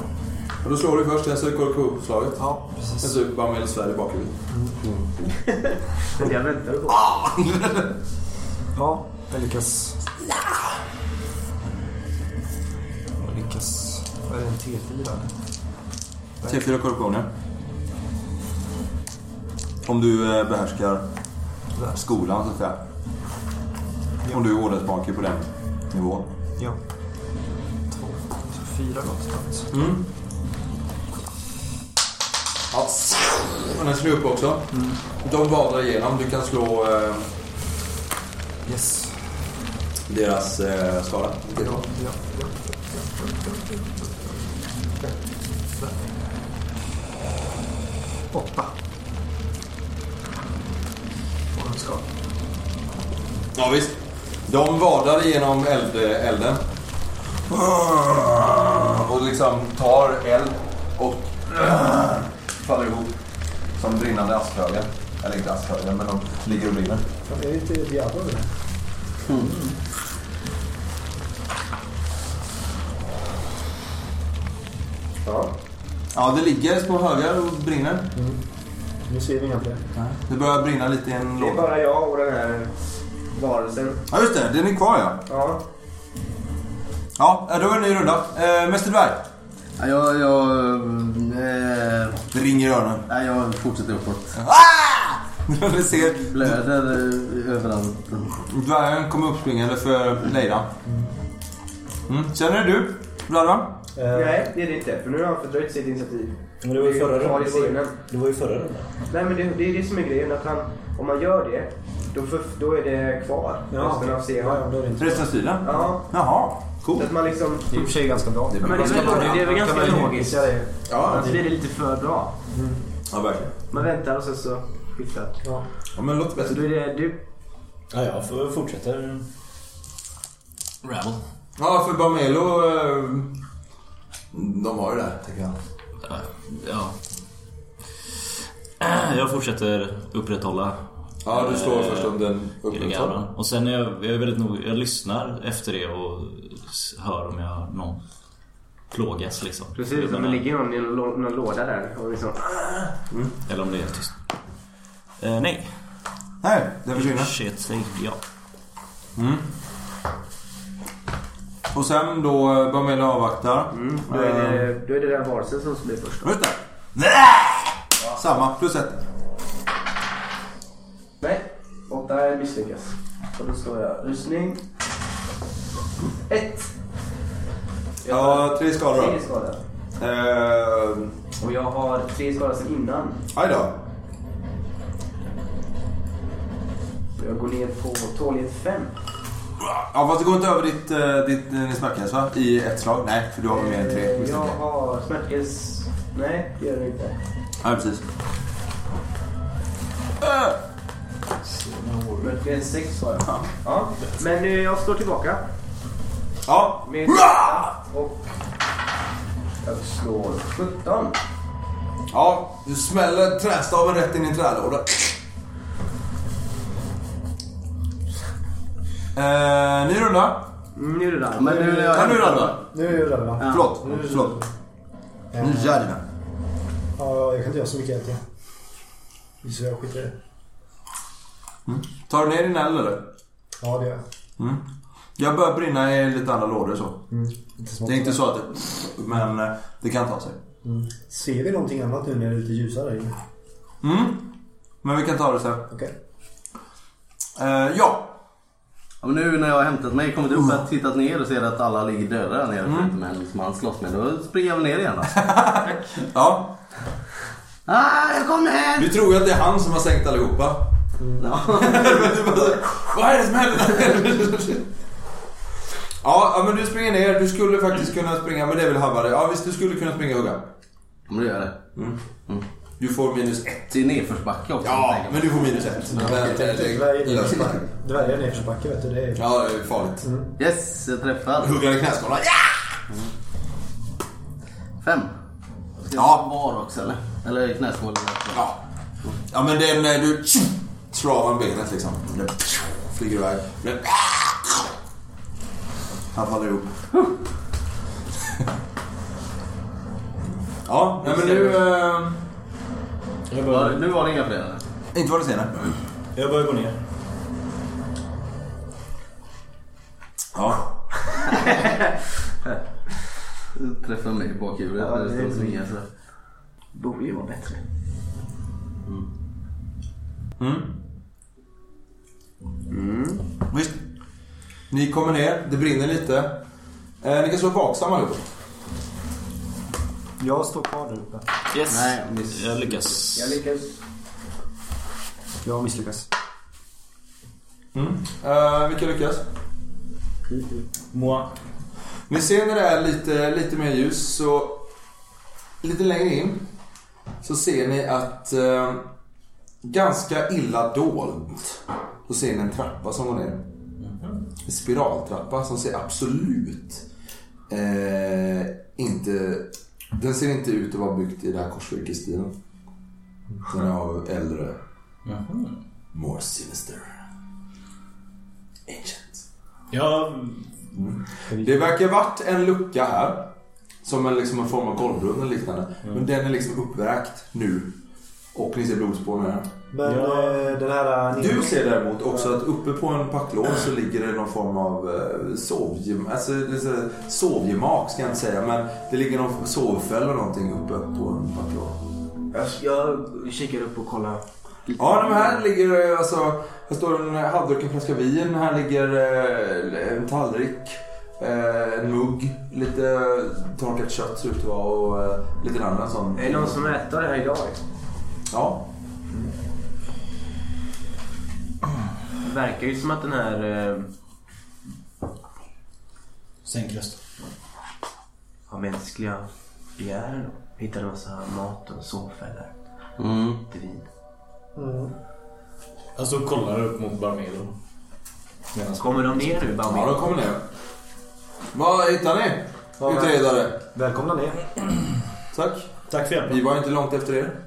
Speaker 5: Och då slår du först en cirkelkorruptionslaget.
Speaker 4: Ja,
Speaker 5: Sen
Speaker 4: precis.
Speaker 5: så bara med Sverige i bakhuvudet. *laughs*
Speaker 9: Men jag väntar på.
Speaker 4: Ja, jag lyckas. Jag lyckas. Vad är det, en T4?
Speaker 5: T4 korruption, ja. Om du eh, behärskar skolan, så att säga. Om du är ordensbakig på den nivån.
Speaker 4: Ja. Två, fyra någonstans.
Speaker 5: Mm. Ja, och den slår upp också. De vadar igenom. Du kan slå eh,
Speaker 4: Yes.
Speaker 5: deras eh, skala.
Speaker 4: Ja, ja, ja. Åtta. Och en skada.
Speaker 5: Ja, visst. De vadar igenom eld, elden. Och liksom tar eld och faller ihop som brinnande askhögar. Eller inte askhögar, men de ligger och brinner.
Speaker 8: Ja, det är lite Diablo det där.
Speaker 5: Ja, det ligger små högar och brinner.
Speaker 8: Nu ser vi inga fler.
Speaker 5: Det börjar brinna lite i en
Speaker 9: Det är
Speaker 5: låda.
Speaker 9: bara jag och den här varelsen.
Speaker 5: Ja, just det. Den är kvar, ja.
Speaker 9: Ja.
Speaker 5: Ja, då är det en ny runda. Eh, Mäster Dvärg.
Speaker 6: Ja, jag, jag, eh,
Speaker 5: Det ringer i öronen.
Speaker 6: nej, jag fortsätter uppåt.
Speaker 5: *laughs* Du Ah! ser
Speaker 6: Blöder eh, överallt.
Speaker 5: dvärgen komma uppspringande för Leira. Mm. Känner du, Bladra?
Speaker 8: Eh,
Speaker 9: Nej, det är det inte. För nu har han fördröjt sitt initiativ.
Speaker 7: Men det var ju
Speaker 9: Det är
Speaker 7: förra
Speaker 9: kvar i scenen.
Speaker 7: rundan. Det var ju förra rundan.
Speaker 9: Nej, men det, det är det som är grejen. Att han, om man gör det, då, för, då är det kvar
Speaker 8: Ja.
Speaker 9: resten av
Speaker 8: ja,
Speaker 9: scenen.
Speaker 8: ja, då är det inte.
Speaker 5: Resten av stilen?
Speaker 9: Ja.
Speaker 5: Jaha,
Speaker 9: Så
Speaker 5: coolt.
Speaker 9: att man liksom...
Speaker 8: Det är i och för sig ganska bra.
Speaker 9: Men det är väl, det är väl ganska logiskt.
Speaker 8: Ja, det är-
Speaker 5: Ja,
Speaker 9: Annars blir det lite för bra.
Speaker 5: ja verkligen.
Speaker 9: Man väntar och sen så skiftar.
Speaker 8: Ja.
Speaker 5: Ja, men det låter
Speaker 9: Så
Speaker 5: bättre.
Speaker 9: då är det du.
Speaker 7: Ja, jag får- fortsätter... Ravel.
Speaker 5: Ja, för Bamelo... eh, De har ju det här, tänker jag.
Speaker 7: Ja, Ja. Äh, Jag fortsätter upprätthålla
Speaker 5: Ja, du slår först om den upprätthåller.
Speaker 7: Gregauran. Och sen är jag, jag är väldigt nog, jag lyssnar efter det och s- hör om jag hör någon plågas liksom.
Speaker 9: Det ser ut som det ligger någon i någon, lå- någon låda där. Och liksom,
Speaker 7: Eller om det är tyst. Eh, nej.
Speaker 5: Nej, den försvinner.
Speaker 7: Shit, säg ja.
Speaker 5: Och sen då eh, Bamela avvaktar.
Speaker 9: Mm, då, är det, då är det den varelsen som blir först.
Speaker 5: Just det. Samma, plus ett.
Speaker 9: Nej, åtta misslyckas. Och då står jag rustning. Ett.
Speaker 5: Ja, tre skador då.
Speaker 9: Tre skador.
Speaker 5: Eh,
Speaker 9: Och jag har tre skador sedan innan.
Speaker 5: Aj då.
Speaker 9: Och jag går ner på tålighet fem.
Speaker 5: Ja, fast det går inte över ditt, eh, ditt, eh, din smärtgräns va? I ett slag? Nej, för du har mer än tre.
Speaker 9: Eh,
Speaker 5: misstänker
Speaker 9: Jag
Speaker 5: jag.
Speaker 9: har smärtgräns... Nej, det gör det inte.
Speaker 5: Ja, precis.
Speaker 9: Smärtgräns sex har jag. Ja. Men eh, jag står tillbaka.
Speaker 5: Ja,
Speaker 9: Med och jag slår 17.
Speaker 5: Ja, du smäller trästaven rätt in i en trälåda. Eh, ny runda.
Speaker 9: Mm, nu är det där.
Speaker 6: Men nu när jag...
Speaker 5: Ja, nu runda.
Speaker 8: Nu är jag rädd va?
Speaker 5: Förlåt, förlåt. Nu jävlar.
Speaker 8: Ja, jag kan inte göra så mycket egentligen. Så jag skiter i det.
Speaker 5: Tar du ner din eld eller?
Speaker 8: Ja, det gör jag.
Speaker 5: Mm. Jag börjar brinna i lite andra lådor så.
Speaker 8: Inte så
Speaker 5: Det är inte så att det... Men eh, det kan ta sig.
Speaker 8: Ser vi någonting annat nu när det är lite ljusare inne?
Speaker 5: Mm. Men vi kan ta det sen.
Speaker 8: Okej.
Speaker 5: Eh, ja.
Speaker 6: Ja, men nu när jag har hämtat mig, kommit upp, och tittat ner och ser att alla ligger döda där nere förutom en som han slåss med. Då springer jag väl ner igen då.
Speaker 5: Ja.
Speaker 6: Ah, jag kommer hem!
Speaker 5: Du tror ju att det är han som har sänkt allihopa. *laughs*
Speaker 6: Ja.
Speaker 5: Du bara så här, Vad är det som händer? Ja, ja, men du springer ner. Du skulle faktiskt kunna springa, men det är väl havare. Ja, visst du skulle kunna springa och hugga.
Speaker 6: Men du gör det.
Speaker 5: Du får minus ett.
Speaker 6: Det är nedförsbacke också.
Speaker 5: Ja,
Speaker 6: tänker jag.
Speaker 5: men du får minus ett. Men, det- det-
Speaker 8: Dvärgen
Speaker 5: det-
Speaker 8: är Dvärgen är nedförsbacke vet du. Det är...
Speaker 5: Ja, det är farligt.
Speaker 6: Yes, jag träffar.
Speaker 5: Hugga i knäskålarna. Ja!
Speaker 6: Fem. Ska jag
Speaker 5: Ja.
Speaker 6: ja. var också eller? Eller knäskål? eller?
Speaker 5: Ja. Ja, men den... eh, Du travar med benet liksom. Den flyger iväg. Den- Han faller ihop. Ja, nej, men nu... eh,
Speaker 6: Ja, nu var det inga fler eller?
Speaker 5: Inte vad du ser, nej.
Speaker 10: Jag börjar gå ner.
Speaker 5: Ja.
Speaker 6: Du Träffar mig i bakhuvudet
Speaker 9: Ja,
Speaker 6: när det
Speaker 9: det är
Speaker 6: står och svingar så.
Speaker 9: Borde ju vara bättre.
Speaker 5: Visst. Ni kommer ner, det brinner lite. Eh, ni kan slå vaksam allihop.
Speaker 8: Jag står kvar där uppe.
Speaker 7: Yes.
Speaker 6: Nej, jag miss.
Speaker 7: Jag lyckas.
Speaker 9: Jag lyckas.
Speaker 8: Jag misslyckas.
Speaker 5: Eh, vilka lyckas?
Speaker 10: Moa.
Speaker 5: Ni ser när det är lite, lite mer ljus så... Lite längre in så ser ni att eh, ganska illa dolt så ser ni en trappa som går ner. En spiraltrappa som ser absolut eh, inte... Den ser inte ut att vara byggt i den här korsvirkesstilen. Den är av äldre. More sinister. Ancient.
Speaker 10: Jag...
Speaker 5: Det verkar varit en lucka här. Som en, liksom en form av golvbrunn eller liknande. Men den är liksom uppvärkt nu. Och ni ser blodspår med den.
Speaker 8: Men
Speaker 10: Ja.
Speaker 8: eh, den här...
Speaker 5: Du ser däremot också att uppe på en packlåda så ligger det någon form av eh, sovgem, alltså, lite sovgemak ska jag inte säga. Men det ligger någon sovfäll eller någonting uppe på en packlåda.
Speaker 9: Jag, jag kikar upp och kollar.
Speaker 5: Ja, de här ligger eh, alltså... Här står en halvdrucken flaska vin. Här ligger eh, en tallrik. eh, En mugg. Lite torkat kött ser ut att vara och eh, lite annan sån.
Speaker 9: Är det någon som äter det här idag?
Speaker 5: Ja.
Speaker 9: Det verkar ju som att den här... Eh,
Speaker 10: Sänk rösten.
Speaker 9: har mänskliga begären då. Hittar en massa mat och sovfällor.
Speaker 6: Mm.
Speaker 9: Lite vin.
Speaker 10: Mm. Alltså kollar upp mot Barmelo. Medan
Speaker 9: Kommer de ner nu
Speaker 5: Ja,
Speaker 9: Bambi?
Speaker 5: de kommer ner. Vad hittar ni? Utredare.
Speaker 8: Välkomna ner.
Speaker 5: Tack.
Speaker 10: Tack för hjälpen.
Speaker 5: Vi var inte långt efter er.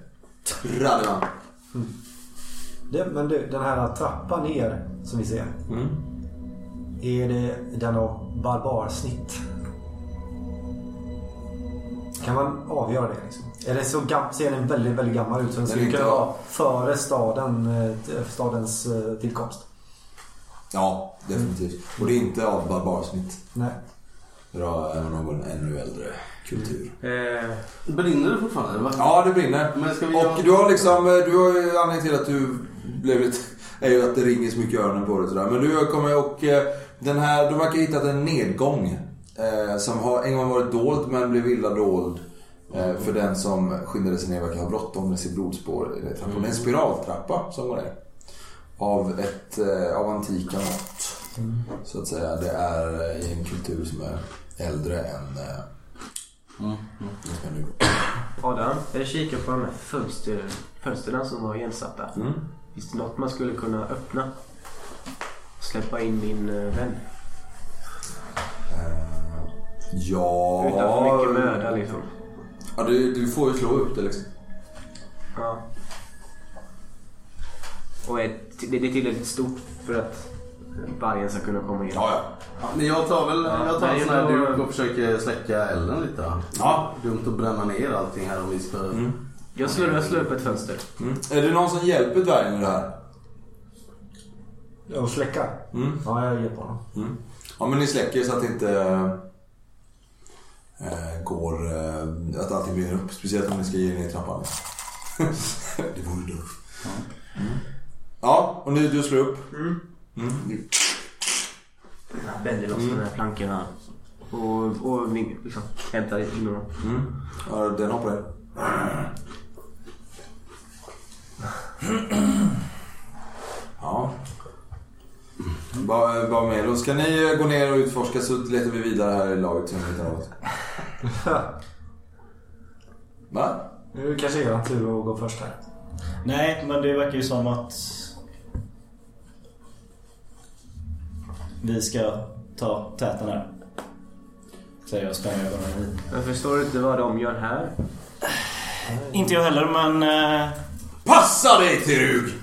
Speaker 5: Radivan.
Speaker 8: Det, men du, den här trappan ner som vi ser.
Speaker 5: Mm.
Speaker 8: Är det den av barbarsnitt? Kan man avgöra det? Liksom? Är det så gam- ser den väldigt, väldigt gammal ut? Så den skulle
Speaker 5: inte
Speaker 8: kunna
Speaker 5: av-
Speaker 8: vara före staden, eh, t- stadens eh, tillkomst?
Speaker 5: Ja, definitivt. Och det är inte av barbarsnitt.
Speaker 8: Nej.
Speaker 5: dra någon ännu äldre kultur.
Speaker 6: Eh, brinner det fortfarande? Va?
Speaker 5: Ja, det brinner.
Speaker 6: Men ska vi
Speaker 5: och
Speaker 6: göra-
Speaker 5: du har liksom, du har ju anledningen till att du blev lite, *laughs* är ju att det ringer så mycket i öronen på dig och sådär. Men du kommer och eh, den här, du verkar ha hittat en nedgång. Eh, som har en gång varit dold men blev illa dold. Eh, för den som skyndade sig ner verkar ha bråttom med sitt blodspår. i trappan.
Speaker 6: Mm.
Speaker 5: Det är en spiraltrappa som går ner. Av, ett, eh, av antika mått.
Speaker 6: Mm.
Speaker 5: Så att säga. Det är eh, i en kultur som är äldre än eh,
Speaker 6: Mm,
Speaker 5: den som är nu.
Speaker 9: Adam, jag kikar på de här fönster, fönsterna som var igensatta.
Speaker 5: Mm.
Speaker 9: Finns det något man skulle kunna öppna? Släppa in min eh, vän.
Speaker 5: Eh, Ja...
Speaker 9: Utan för mycket möda liksom.
Speaker 5: Ja, du, du får ju slå upp det liksom.
Speaker 9: Ja. Och ett, det det är tillräckligt stort för att vargen ska kunna komma in.
Speaker 6: Ja, men jag tar väl jag tar en
Speaker 9: Nej,
Speaker 6: sån här
Speaker 9: då-
Speaker 6: duk och försöker släcka elden lite. då.
Speaker 5: Ja.
Speaker 6: Dumt att bränna ner allting här om vi ska...
Speaker 9: Jag slår, jag slår upp ett fönster.
Speaker 5: Mm. Är det någon som hjälper dvärgen med det här?
Speaker 8: Och släcka?
Speaker 5: Mm.
Speaker 8: Ja, jag hjälper honom.
Speaker 5: Mm. Ja, men ni släcker så att det inte eh, går... Eh, att allting brinner upp. Speciellt om ni ska ge er ner i trappan. *laughs* det vore dumt. Mm. Ja, och nu du slår upp. Mm.
Speaker 9: Jag Vänder loss de här plankorna. Och, och ving- liksom, hämtar in honom.
Speaker 5: Mm. Ja, den hoppar in. Ja. Bara, bara med. Då ska ni gå ner och utforska så letar vi vidare här i laget. som vi hittar något. Va?
Speaker 8: Nu kanske jag har tur att gå först här.
Speaker 10: Nej, men det verkar ju som att vi ska ta täten här. Säger jag och spänner ögonen hit.
Speaker 9: Jag förstår inte vad de gör här.
Speaker 10: Inte jag heller, men... eh,
Speaker 5: Passa dig till rygg!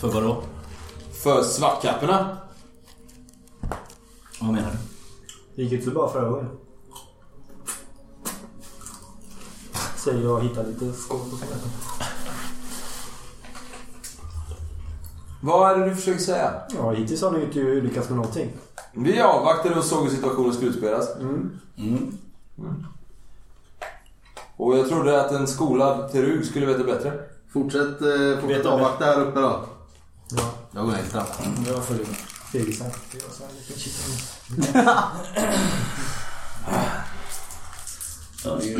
Speaker 10: För vadå?
Speaker 5: För svartkapporna.
Speaker 10: Vad menar du?
Speaker 8: Det gick inte så bra förra gången. Säger jag och hittar lite skåp och sådär.
Speaker 5: Vad är det du försöker säga?
Speaker 8: Ja, hittills har ni ju inte lyckats med någonting.
Speaker 5: Vi avvaktade och såg hur situationen skulle utspelas. Mm. Och jag trodde att en skolad terug skulle veta bättre.
Speaker 6: Fortsätt, eh, fortsätt avvakta här uppe då.
Speaker 8: Ja,
Speaker 6: Jag går ner i trappan.
Speaker 10: Jag följer med.
Speaker 8: fegisar. Det var så här lite kittlande.
Speaker 10: Ja, det, är ju,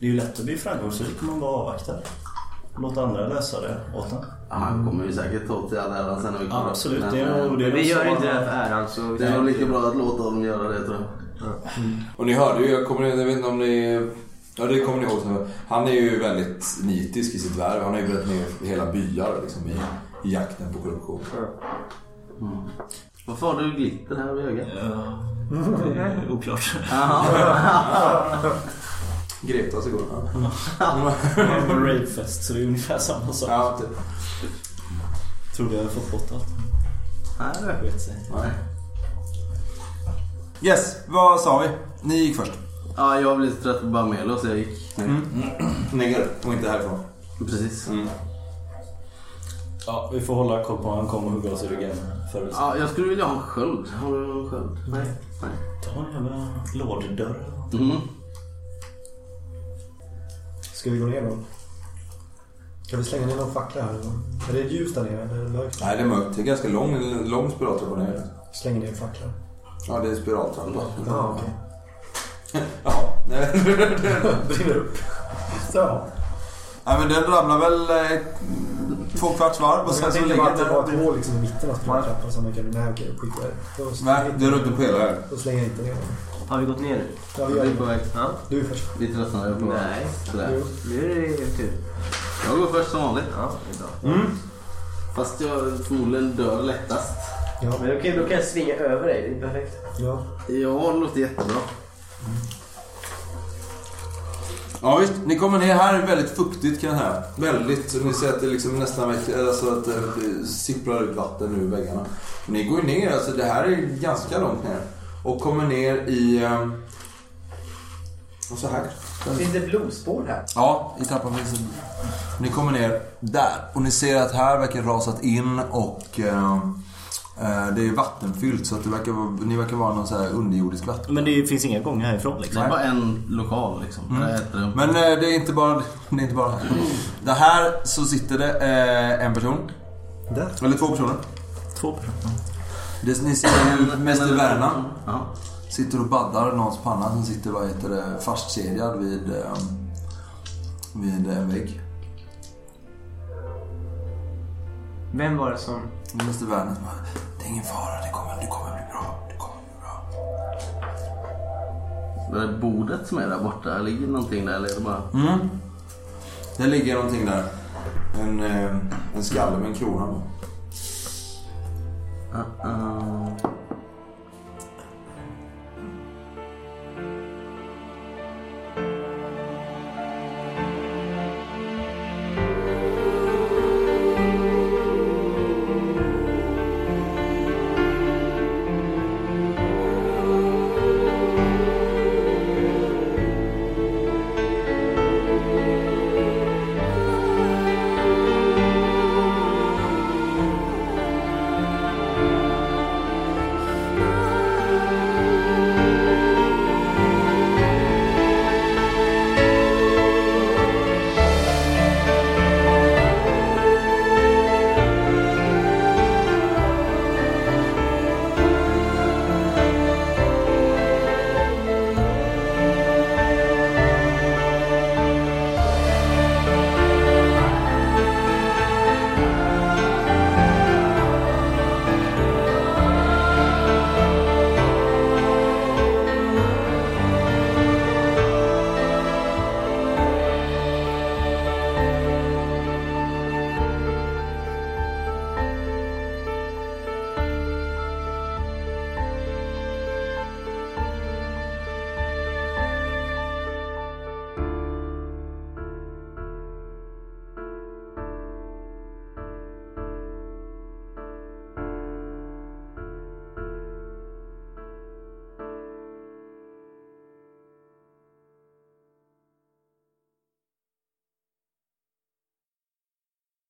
Speaker 10: det är ju lätt att bli framgångsrik om man bara avvaktar. Låt andra lösa det åt en.
Speaker 6: Ja, Han kommer ju säkert ta åt sig all ära sen. när vi kommer upp.
Speaker 10: Absolut,
Speaker 6: Men,
Speaker 10: det är nog
Speaker 6: eh,
Speaker 10: det
Speaker 9: Vi
Speaker 10: är nog
Speaker 9: gör
Speaker 10: så-
Speaker 9: inte det här för äran så...
Speaker 6: det är nog lika bra att låta dem göra det tror jag.
Speaker 5: Och ni hörde ju, jag, kommer, jag vet inte om ni... Ja det kommer ni ihåg. så- Han är ju väldigt nitisk i sitt värv. Han har ju bränt ner hela byar liksom, i, i jakten på korruption.
Speaker 6: Varför har du glitter här vid ögat?
Speaker 10: Ja, det *laughs* är oklart.
Speaker 5: Greptas igår. va?
Speaker 10: Det var en Rapefest så det är ungefär samma sak.
Speaker 5: Ja, typ.
Speaker 10: Trodde jag hade fått bort allt.
Speaker 6: Nej, det är
Speaker 10: Vet sig.
Speaker 5: Nej. Yes, vad sa vi? Ni gick först.
Speaker 6: Ja, jag blev lite trött på Barmelo så jag gick ner.
Speaker 5: Ni går Mm. och inte härifrån.
Speaker 6: Precis.
Speaker 10: Ja, vi får hålla koll på honom. Han kommer och hugga oss i ryggen. För att
Speaker 6: Ja, jag skulle vilja ha en sköld. Har du någon sköld? Nej. Nej.
Speaker 10: ta en jävla låddörr.
Speaker 6: Mm.
Speaker 8: Ska vi gå ner då? Kan vi slänga ner någon fackla här? Är det ljus där nere? Eller är det mörkt?
Speaker 5: Nej, det är mörkt. Det är ganska lång, lång spiraltrappa ner.
Speaker 8: Slänger ner en fackla.
Speaker 5: Ja, det är spiraltrappa.
Speaker 8: Ja, okej.
Speaker 5: Ja, nej.
Speaker 8: *laughs* Brinner upp. Ja.
Speaker 5: nej, men den ramlar väl eh, två kvarts varv och
Speaker 8: Och
Speaker 5: sen
Speaker 8: jag
Speaker 5: så
Speaker 8: tänkte bara
Speaker 5: ligger
Speaker 8: att det var ett
Speaker 5: den...
Speaker 8: hål liksom i mitten av spiraltrappan som man kunde... Nej okej, skit i det. Då-
Speaker 5: Nej, du är runt på hela här.
Speaker 8: Då slänger jag inte ner den.
Speaker 9: Har vi gått ner nu?
Speaker 8: Ja,
Speaker 6: Jag
Speaker 8: gör
Speaker 6: är på
Speaker 8: det.
Speaker 6: väg.
Speaker 9: Ja.
Speaker 8: Du är först.
Speaker 6: Vi tröttnade på
Speaker 9: Nej.
Speaker 6: sådär.
Speaker 8: Jo.
Speaker 9: Nu är det er tur.
Speaker 6: Jag går först som vanligt. Mm.
Speaker 9: Ja, det är bra.
Speaker 6: Fast jag förmodligen dör lättast.
Speaker 8: Ja.
Speaker 9: Men okej, då kan jag svinga över dig. Det är perfekt.
Speaker 8: ja.
Speaker 6: Ja, det låter jättebra.
Speaker 5: Ja visst, ni kommer ner här, är väldigt fuktigt kan det här. Väldigt, så ni ser att det liksom nästan verkar- alltså att det det sipprar ut vatten ur väggarna. Och ni går ner, alltså det här är ganska långt ner. Och kommer ner i... eh, Och så här.
Speaker 9: Finns det blodspår här?
Speaker 5: Ja, i trappan finns det. Ni kommer ner där och ni ser att här verkar rasat in och eh, Eh, Det är vattenfyllt så att det verkar, vara- ni verkar vara någon så här underjordisk vatten.
Speaker 10: Men det finns inga gånger härifrån liksom.
Speaker 5: Det är bara
Speaker 6: en lokal liksom. heter det.
Speaker 5: Men eh, det är inte bara, det är inte bara här. Det här så sitter det eh, en person.
Speaker 8: Där.
Speaker 5: Eller två personer.
Speaker 10: Två personer.
Speaker 5: Det, ni ser ju mest i
Speaker 6: eller-
Speaker 5: Värna. Sitter och baddar någons panna som sitter vad heter det, fastkedjad vid, eh, vid en vägg.
Speaker 9: Vem var det som...
Speaker 5: Mr Werner som bara, det är ingen fara, det kommer, det kommer bli bra. Det kommer bli bra.
Speaker 6: Det där bordet som är där borta, ligger någonting där eller är det bara...
Speaker 5: Mm. Det ligger någonting där. En, eh, en skalle med en krona på.
Speaker 6: Uh,